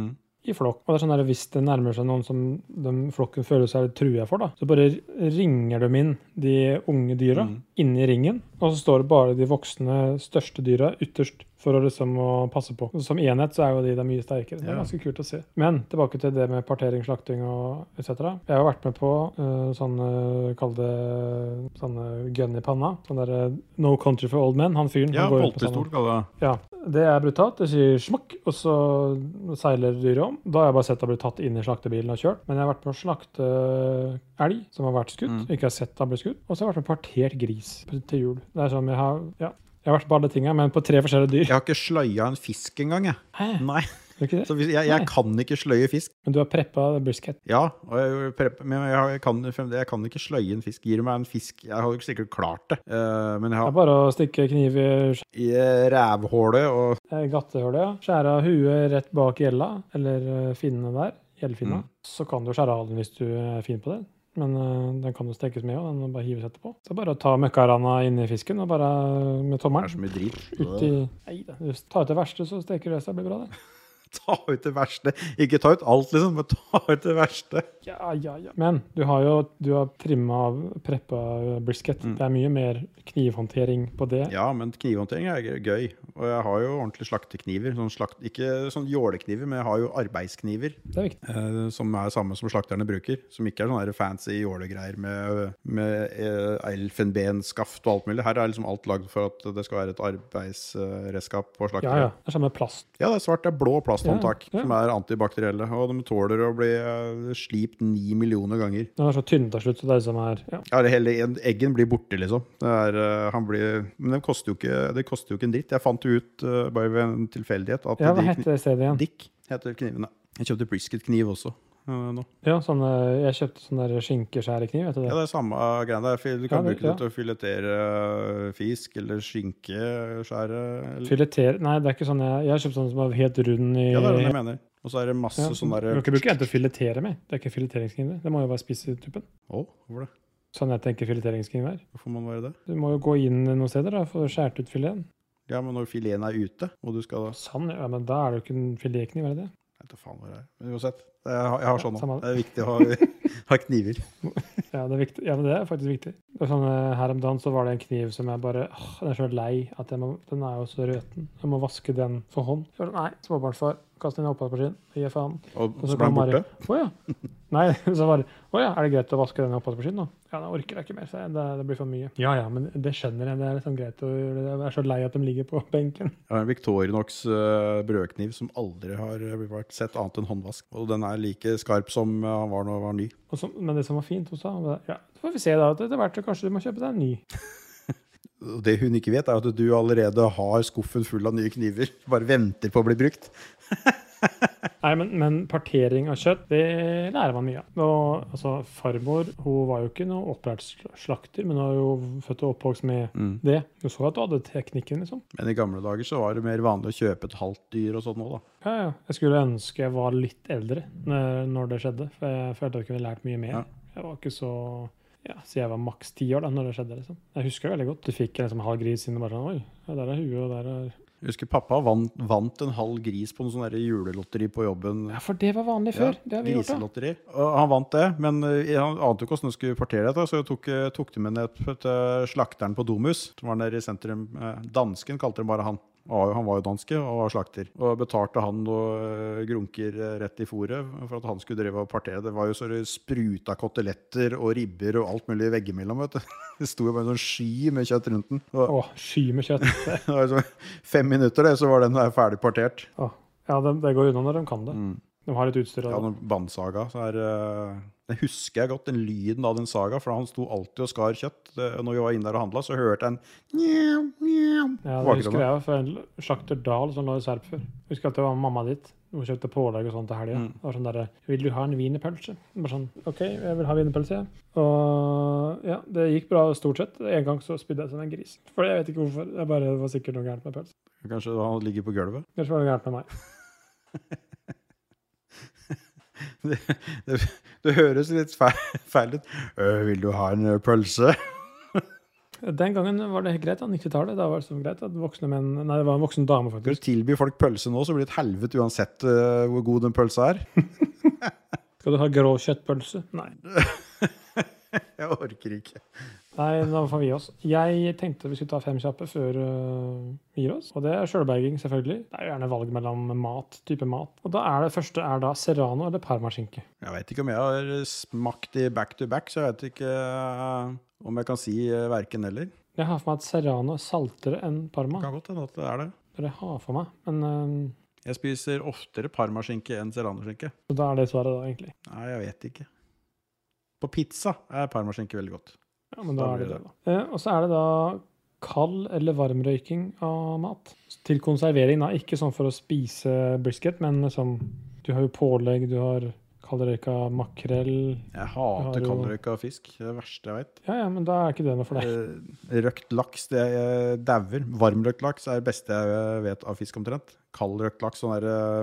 S1: i flokk. Og det er sånn der, Hvis det nærmer seg noen som de flokken føler seg litt trua for, da, så bare ringer de inn de unge dyra
S2: Mm.
S1: inni ringen. Og så står det bare de voksne, største dyra ytterst for å liksom å passe på. Og som enhet så er jo de da mye sterkere. Det er
S2: Ja.
S1: ganske kult å se. Men tilbake til det med partering, slakting og etc. Jeg har vært med på eh, sånne, kall det sånne gun i panna. Sånn derre No Country for Old Men. Han fyren.
S2: Ja,
S1: han går rundt med sånn-
S2: polterstol kaller jeg det.
S1: ja, det er brutalt. Det sier smakk, og så seiler dyret om. Da har jeg bare sett det bli tatt inn i slaktebilen og kjørt. Men jeg har vært med å slakte eh, elg som har vært skutt. Ikke har sett den bli skutt. Og så har jeg vært med på partert gris på- til jul. Det er sånn jeg har Ja. Jeg har vært på alle tinga, men på tre forskjellige dyr.
S2: Jeg har ikke sløya en fisk engang, jeg.
S1: Hæ?
S2: Nei,
S1: Er det ikke det?
S2: så hvis, jeg, jeg kan ikke sløye fisk.
S1: Men du har preppa brisket.
S2: Ja, og jeg, prep- men jeg, har- jeg, kan, fremdeles- jeg kan ikke sløye en fisk. Gir du meg en fisk Jeg hadde jo ikke sikkert klart det. Eh, men jeg
S1: Det er
S2: har
S1: bare å stikke kniv i
S2: i rævhålet og
S1: eh, gattehullet. ja. Skjære av huet rett bak gjella, eller eh, finnene der. Gjeldfinna.
S2: Mm.
S1: Så kan du skjære av den hvis du er fin på det. Men eh, den kan jo stekes med òg. Den må bare hives etterpå. Så det er bare å ta møkkarana inni fisken og bare eh, med
S2: Det er
S1: tommelen
S2: så mye drit.
S1: ut i Nei da. Du tar ut det verste, så steker det seg. Blir bra, det.
S2: [laughs] Ta ut det verste. Ikke ta ut alt, liksom, men ta ut det verste.
S1: Ja, ja, ja. Men du har jo du har trimma av preppa brisket. Det er mye mer knivhåndtering på det.
S2: Mm. Ja, men knivhåndtering er gøy- gøy. Og jeg har jo ordentlige slaktekniver. Sånn slakt, ikke sånn jålekniver, men jeg har jo arbeidskniver.
S1: Det er viktig.
S2: Eh, som er samme som slakterne bruker. Som ikke er sånne her fancy jålegreier med, med eh, elfenbenskaft og alt mulig. Her er liksom alt lagd for at det skal være et arbeidsredskap på
S1: Ja,
S2: slakteren.
S1: ja. Det er samme plast.
S2: Ja, det er svart. Det er blå plasthåndtak
S1: Ja, ja.
S2: som er antibakterielle. Og de tåler å bli eh, slipt ni millioner ganger.
S1: Den er så tynn til slutt, så det er liksom her ja.
S2: Ja, det hele eggen blir borte, liksom. Det er, eh, han blir, men det koster, jo ikke, det koster jo ikke en dritt. Jeg fant jo ut eh, bare ved en tilfeldighet at
S1: ja, hva
S2: de kni-
S1: heter det stedet igjen?
S2: Dick heter knivene. Jeg kjøpte brisket-kniv også. eh, nå.
S1: Ja, sånne, jeg kjøpte sånn der skinkeskjærekniv, vet du
S2: Ja,
S1: det?
S2: det er samme greia. Det er fil- Du
S1: Ja,
S2: kan
S1: det-
S2: bruke det til å filetere eh, fisk eller skinke, skjære eller-
S1: Fileter Nei, det er ikke sånn jeg Jeg har kjøpt sånn som er helt rund i
S2: Ja, det er det jeg mener. Og så er det masse
S1: Ja,
S2: sånn
S1: Du kan
S2: derre
S1: ikke bruke en til å filetere med. Det er ikke fileteringskniv. Det Det må jo være spisetuppen.
S2: Å, hvorfor det?
S1: Sånn jeg tenker fileteringskniv er.
S2: Hvorfor må det være det?
S1: Du må jo gå inn noen steder da, for å skjære ut fileten.
S2: Ja, men når fileten er ute, og du skal da
S1: Sånn, ja, men da er det jo ikke en filetkniv, er det det?
S2: Jeg vet da faen hva det er. Men uansett, jeg har, jeg har sånn nå.
S1: samme
S2: Det er viktig å ha, [laughs] ha kniver.
S1: Ja, det er, viktig. Ja, men det er faktisk viktig. Det er sånn, eh, her om dagen så var det en kniv som jeg bare åh, Den er så lei at jeg må, den er jo så røten. Jeg må vaske den for hånd. Så var det, Nei, småbarnsfar, kast den i oppvaskmaskinen. Gi faen.
S2: Og
S1: Og
S2: så ble den
S1: kom
S2: borte.
S1: Mari, Å ja. Nei, [laughs] så bare Å ja, er det greit å vaske denne oppvaskmaskinen, da? Ja, da orker jeg ikke mer, sa jeg. Det, det blir for mye. Ja ja, men det skjønner jeg. Det er liksom greit å gjøre det. Jeg er så lei at de ligger på benken.
S2: Jeg har en Victorinox eh, brødkniv som aldri har eh, vært sett annet enn håndvask. Og den er like skarp som eh, han var da han var ny.
S1: Og så, men det som var fint hos henne, var ja, så får vi se da at etter hvert så kanskje du må kjøpe deg en ny.
S2: Og Det hun ikke vet, er at du allerede har skuffen full av nye kniver. [laughs] Bare venter på å bli brukt.
S1: Nei, men, men partering av kjøtt, det lærer man mye av. Og altså, farmor hun var jo ikke noe opplært sl- slakter, men hun var jo født og oppvokst med det. Du så at du hadde teknikken, liksom.
S2: Men i gamle dager så var det mer vanlig å kjøpe et halvt dyr og sånn òg, da.
S1: Ja, ja. Jeg skulle ønske jeg var litt eldre når når det skjedde, for jeg følte at jeg kunne lært mye mer.
S2: Ja.
S1: Jeg var ikke så ja, Så jeg var maks ti år da når det skjedde. liksom. Jeg husker det veldig godt. Du fikk en liksom, halv gris inn og bare sånn Oi, ja, der er huet, og der er
S2: Jeg husker pappa vant, vant en halv gris på en sånn der julelotteri på jobben.
S1: Ja, for det var vanlig før. det har vi gjort, da.
S2: Griselotteri. Og han vant det, men eh, han ante jo ikke hvordan han skulle partere dette, så jeg tok, eh, tok det med ned til slakteren på Domus, som var nede i sentrum. Eh, Dansken kalte de bare han. Han var jo- Han var jo danske og var slakter. Og betalte han noe eh, grunker eh, rett i fôret for at han skulle drive og partere. Det var jo så det spruta koteletter og ribber og alt mulig veggimellom. vet du. [laughs] Det sto jo bare en sånn sky med kjøtt rundt den. Og,
S1: Å, sky med kjøtt.
S2: det var liksom fem minutter, det, så var den der ferdig partert.
S1: Å, Ja, det, det går unna når de kan det. De har litt utstyr.
S2: Ja,
S1: Og,
S2: den bandsaga. Så er, eh, det husker jeg godt, den lyden av den saga. For han sto alltid og skar kjøtt. Det- Når vi var inne der og handla, så hørte jeg en mjau, mjau.
S1: ja,
S2: på
S1: det husker
S2: bakgrunnen.
S1: jeg fra en slakter Dahl som lå i Serp før. Husker at det var mamma ditt. Hun kjøpte pålegg og sånt til helga. Det var sånn derre Vil du ha en wienerpølse? Jeg Bare sånn OK, jeg vil ha wienerpølse, jeg. Og ja, det gikk bra stort sett. En gang så spydde jeg som en gris. For jeg vet ikke hvorfor. Jeg bare, det var sikkert noe gærent med pølsen.
S2: Kanskje han ligger på gulvet.
S1: Kanskje det var noe gærent med meg.
S2: [laughs] Det høres litt feil, feil ut. «Øh, vil du ha en ø, pølse?
S1: Den gangen var det helt greit, da. 90-tallet. Da var det så greit at voksne menn Nei, det var en voksen dame,
S2: Skal
S1: faktisk.
S2: du tilby folk pølse nå, så blir det et helvete uansett eh, hvor god den pølsa er. [laughs]
S1: Skal du ha grå kjøttpølse? Nei.
S2: Jeg orker ikke.
S1: Nei, nå får vi gi oss. Jeg tenkte vi skulle ta fem kjappe før øh, vi gir oss. Og det er sjølberging, selvfølgelig. Det er jo gjerne valg mellom mat, type mat. Og da er det første er da serrano eller parmaskinke.
S2: Jeg vet ikke om jeg har smakt i back to back, så jeg vet ikke eh, om jeg kan si eh, verken eller.
S1: Jeg har for meg at serrano er saltere enn
S2: Det
S1: parma.
S2: kan godt hende at det er det.
S1: Det er det jeg har for meg. Men øh,
S2: Jeg spiser oftere parmaskinke enn serranoskinke.
S1: så da er det svaret, da, egentlig.
S2: Nei, jeg vet ikke. På pizza er parmaskinke veldig godt.
S1: Ja, men da
S2: Da
S1: er det
S2: blir
S1: det, da. Eh, og så er det da kald eller varm røyking av mat. Til konservering, da. Ikke sånn for å spise brisket, men sånn Du har jo pålegg, du har kaldrøyka makrell
S2: Jeg
S1: Ja,
S2: hater
S1: det-
S2: kaldrøyka fisk. Det er det verste jeg vet.
S1: Ja ja, men da er ikke det noe for deg.
S2: Eh, Røkt laks, det jeg dauer. Varmrøkt laks er det beste jeg vet av fisk, omtrent. Kald røkt laks, sånn der eh,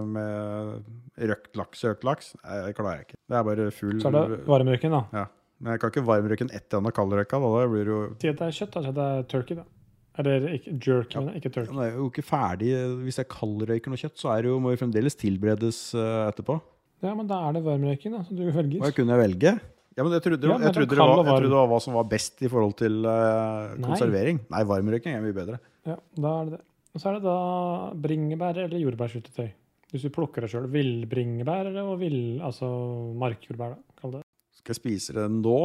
S2: med røkt laks, røkt laks, nei, det klarer jeg ikke. Det er bare full
S1: Så er det varmrøyken, da.
S2: Ja. Men jeg kan ikke varmrøyke den etter den har kaldrøyka. Da da blir det jo
S1: Si at det er kjøtt, da. Si at det er turkey, da. Eller ikke, jerk,
S2: Ja.
S1: mener jeg. Ikke
S2: Ja,
S1: turkey.
S2: men det er jo ikke ferdig. Hvis jeg kaldrøyker noe kjøtt, så er det jo, må det jo fremdeles tilberedes eh, etterpå.
S1: Ja, men da er det varmrøyking, da, som du velger.
S2: Og jeg kunne jeg velge? Ja, men jeg trodde,
S1: Ja, men
S2: jeg
S1: den
S2: trodde,
S1: kald
S2: det, var,
S1: og
S2: jeg
S1: varm.
S2: trodde det var hva som var best i forhold til eh,
S1: Nei.
S2: konservering. Nei, varmrøyking er mye bedre.
S1: Ja, da er det det. Og så er det da bringebær eller jordbærsyltetøy. Hvis du plukker det sjøl. Villbringebær eller og vill... Altså markjordbær, da. Kall det.
S2: Skal jeg spise det nå,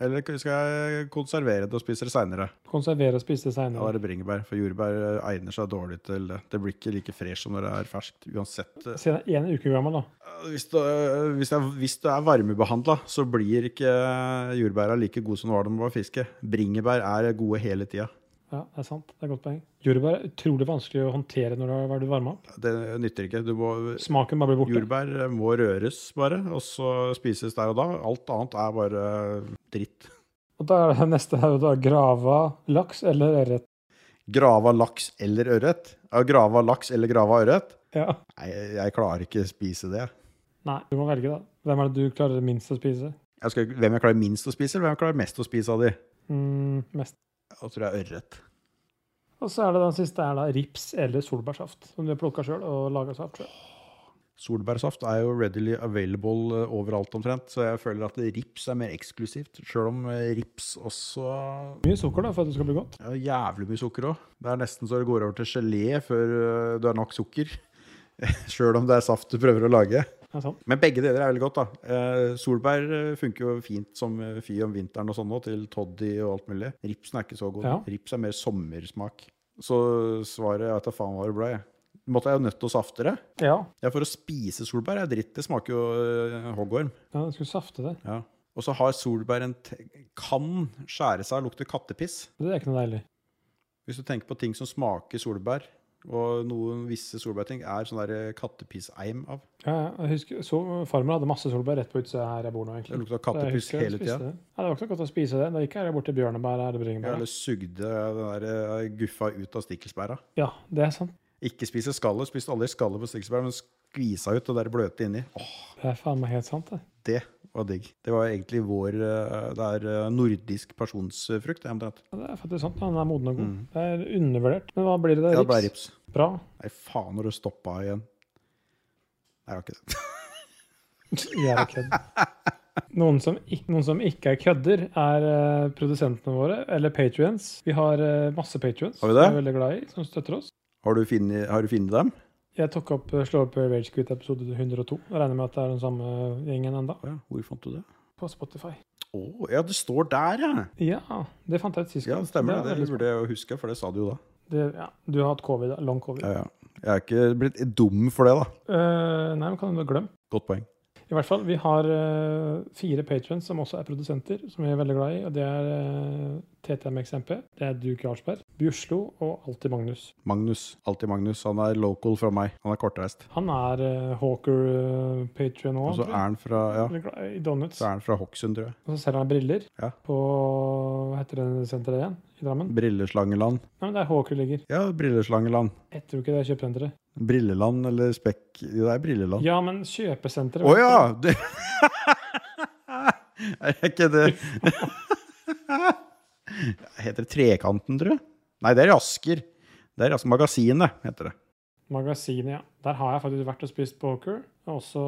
S2: eller skal jeg konservere det og spise det seinere?
S1: Konservere og spise
S2: Da er
S1: seinere.
S2: det bringebær, for jordbær eh, egner seg dårlig til det. Det blir ikke like fresh som når det er ferskt, uansett. eh,
S1: Se, det er en uke gammel, da.
S2: Hvis det, eh, hvis det, er- hvis det er varmebehandla, så blir ikke jordbæra like gode som de var da de var friske. Bringebær er gode hele tida.
S1: Ja, det er sant. Det er et godt poeng. Jordbær er utrolig vanskelig å håndtere når det har vært varma opp.
S2: Det nytter ikke. Du må,
S1: Smaken bare blir borte.
S2: jordbær eh, må røres bare, og så spises der og da. Alt annet er bare dritt.
S1: Og da er det neste er jo da grava laks eller ørret.
S2: Grava laks eller ørret? Ja, grava laks eller grava ørret?
S1: Ja.
S2: Nei, jeg klarer ikke å spise det.
S1: Nei, du må velge, da. Hvem er det du klarer minst å spise?
S2: Jeg skal, hvem jeg klarer minst å spise, eller hvem jeg klarer mest å spise av de?
S1: Mm, mest.
S2: Jeg tror jeg er ørret.
S1: Og så er det den siste er da rips eller solbærsaft, som du har plukka sjøl og laga saft sjøl.
S2: Solbærsaft er jo readily available eh, overalt omtrent, så jeg føler at rips er mer eksklusivt. Sjøl om eh, rips også
S1: Mye sukker da, for at det skal bli godt.
S2: ja, Jævlig mye sukker òg. Det er nesten så det går over til gelé før eh, du har nok sukker. [laughs] Sjøl om det er saft du prøver å lage.
S1: Det er sant.
S2: Men begge deler er veldig godt, da. Eh, solbær eh, funker jo fint som eh, fy om vinteren og sånn òg, til toddy og alt mulig. Ripsen er ikke så god.
S1: Ja.
S2: Rips er mer sommersmak. Så svaret er at faen hva det ble. Måtte jeg jo nødt til å safte det?
S1: Ja,
S2: Ja, for å spise solbær er dritt. Det smaker jo eh, hoggorm.
S1: ja du skulle safte det.
S2: Ja. Og så har solbær en te kan skjære seg og lukte kattepiss.
S1: Det er ikke noe deilig.
S2: Hvis du tenker på ting som smaker solbær, og noen visse solbærting er sånn der kattepissheim av.
S1: Ja, ja, jeg husker, så, Farmer hadde masse solbær rett på utsida her jeg bor nå,
S2: Det
S1: egentlig.
S2: lukta
S1: Så jeg
S2: kattepiss
S1: husker jeg
S2: hele
S1: spiste
S2: tida.
S1: det. Nei, det var ikke så godt å spise det. Da gikk jeg bort til bjørnebær eller bringebær.
S2: Eller sugde den der eh, guffa ut av stikkelsbæra.
S1: Ja, det er sant.
S2: Ikke spise skallet. Spiste aldri skallet på stikkelsbær, men skvisa ut det der bløte inni. Åh,
S1: Det er faen meg helt sant, det.
S2: det var digg. Det var egentlig vår eh, Det er eh, nordisk pasjonsfrukt, det er omtrent.
S1: Ja, det er faktisk sant. Den er moden og god. Det er undervurdert. Men hva blir Mm. det?
S2: Ja,
S1: da?
S2: det ble rips.
S1: Bra.
S2: Nei, faen når du stoppa igjen. Nei, jeg har ikke det. [laughs]
S1: Jævla kødd. Noen som, ikke, noen som ikke er kødder, er eh, produsentene våre, eller patrions. Vi har eh, masse patrions
S2: Har vi det?
S1: er veldig glad i, som støtter oss.
S2: Har du funnet, har du funnet dem?
S1: Jeg tok opp eh, Slå opp Ragequit episode 102. Jeg regner med at det er den samme gjengen enda,
S2: Å ja, hvor fant du det?
S1: på Spotify.
S2: Å, ja, det står der, ja!
S1: Ja, det fant jeg ut sist.
S2: Ja, det
S1: er
S2: stemmer. Det, det
S1: veldig
S2: burde jeg jo huske, for det sa du jo da.
S1: smart. det, ja, du har hatt covid, da. Long covid.
S2: Ja, ja. Jeg er ikke blitt dum for det, da.
S1: Eh, nei, men kan du glemme?
S2: Godt poeng.
S1: I hvert fall, vi har eh, fire patrons som også er produsenter, som vi er veldig glad i. Og det er eh, TTM XMP, det er Duke Jarlsberg, Bjørslo og Alltid Magnus.
S2: Magnus. Alltid Magnus. Han er local fra meg. Han er kortreist.
S1: Han er eh, Hawker-patrion
S2: Og
S1: òg.
S2: så Altså, er han fra, ja,
S1: I donuts.
S2: så er han fra Hokksund, tror jeg.
S1: Og så selger han briller
S2: Ja.
S1: på Hva heter det senteret igjen? I Drammen?
S2: Brilleslangeland.
S1: Nei, men det er Hawker ligger.
S2: Ja, Brilleslangeland.
S1: Jeg tror ikke det er kjøpesenteret.
S2: Brilleland eller Spekk Jo, Det er Brilleland. Å
S1: Ja, men kjøpesenteret
S2: ja! Det... [laughs] er ikke det [laughs] Heter det Trekanten, tror jeg? Nei, det er i Asker. Det er i Asker Magasinet, heter det.
S1: Magasinet, ja. Der har jeg faktisk vært og spist poker. Og også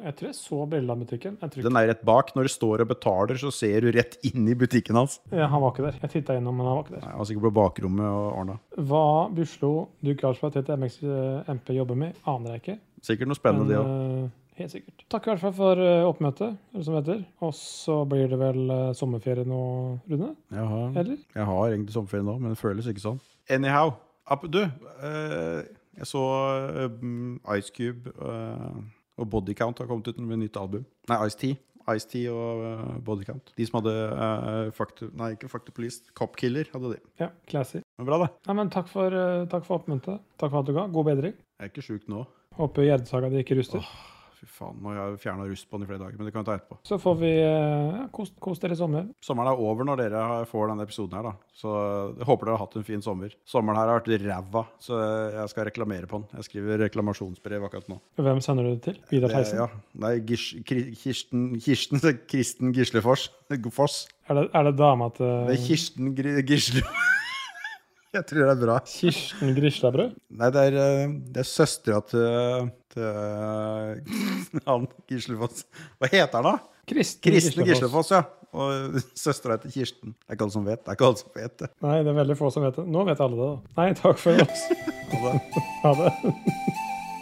S1: Jeg tror jeg så Brilleland-butikken. Jeg tror ikke
S2: [laughs] Den er rett bak. Når du står og betaler, så ser du rett inn i butikken hans.
S1: ja, Han var ikke der. Jeg titta innom, men han var ikke der.
S2: Nei, Han var sikkert på bakrommet og ordna.
S1: Hva Buslo Duke Jarlsberg heter MX eh, MP jobber med, aner jeg ikke.
S2: Sikkert noe spennende, det òg.
S1: eh, helt sikkert. Takk i hvert fall for eh, oppmøtet, eller som det heter. Og så blir det vel eh, sommerferie nå, Rune?
S2: Jeg har,
S1: Eller?
S2: jeg har egentlig sommerferie nå, men det føles ikke sånn. Anyhow. App- Du, eh, jeg så eh, mm, Ice Cube eh, og Body Count har kommet ut med nytt album. Nei, Ice T. Ice T og eh, Body Count. De som hadde eh, Factor, Nei, ikke Factor Police. Cop Killer hadde de.
S1: Ja, classy.
S2: Men bra, det.
S1: Nei, men takk for, eh, takk for oppmøtet. Takk for at du ga. God bedring.
S2: Jeg er ikke sjuk nå.
S1: Håper Gjerdesaga di ikke ruster.
S2: Fy faen, nå har jeg fjerna rust på den i flere dager, men det kan vi ta etterpå.
S1: Så får vi eh, ja, kos, kos dere i sommer.
S2: Sommeren er over når dere har- får denne episoden her, da. Så jeg håper dere har hatt en fin sommer. Sommeren her har vært ræva, så jeg skal reklamere på den. Jeg skriver reklamasjonsbrev akkurat nå.
S1: Hvem sender du det til? Vidar
S2: Det-
S1: Theisen?
S2: Ja, nei, Gis- Kri- Kirsten, Kirsten, Kristen Gislefors. Foss.
S1: Er, det, er det dama til
S2: Det er Kirsten Gri- Gisle... [laughs] Jeg tror det er bra.
S1: Kirsten Grislabrød?
S2: Nei, det er, eh, det er søstera til, til [laughs] han Gislefoss. Hva heter han, da?
S1: Kristen,
S2: Kristen Gislefoss, ja. Og [laughs] søstera heter Kirsten. Det er ikke alle som vet det. er ikke alle som vet det.
S1: Nei, det er veldig få som vet det. Nå vet alle det, da. Nei, takk for oss.
S2: Ha det.
S1: Ha det.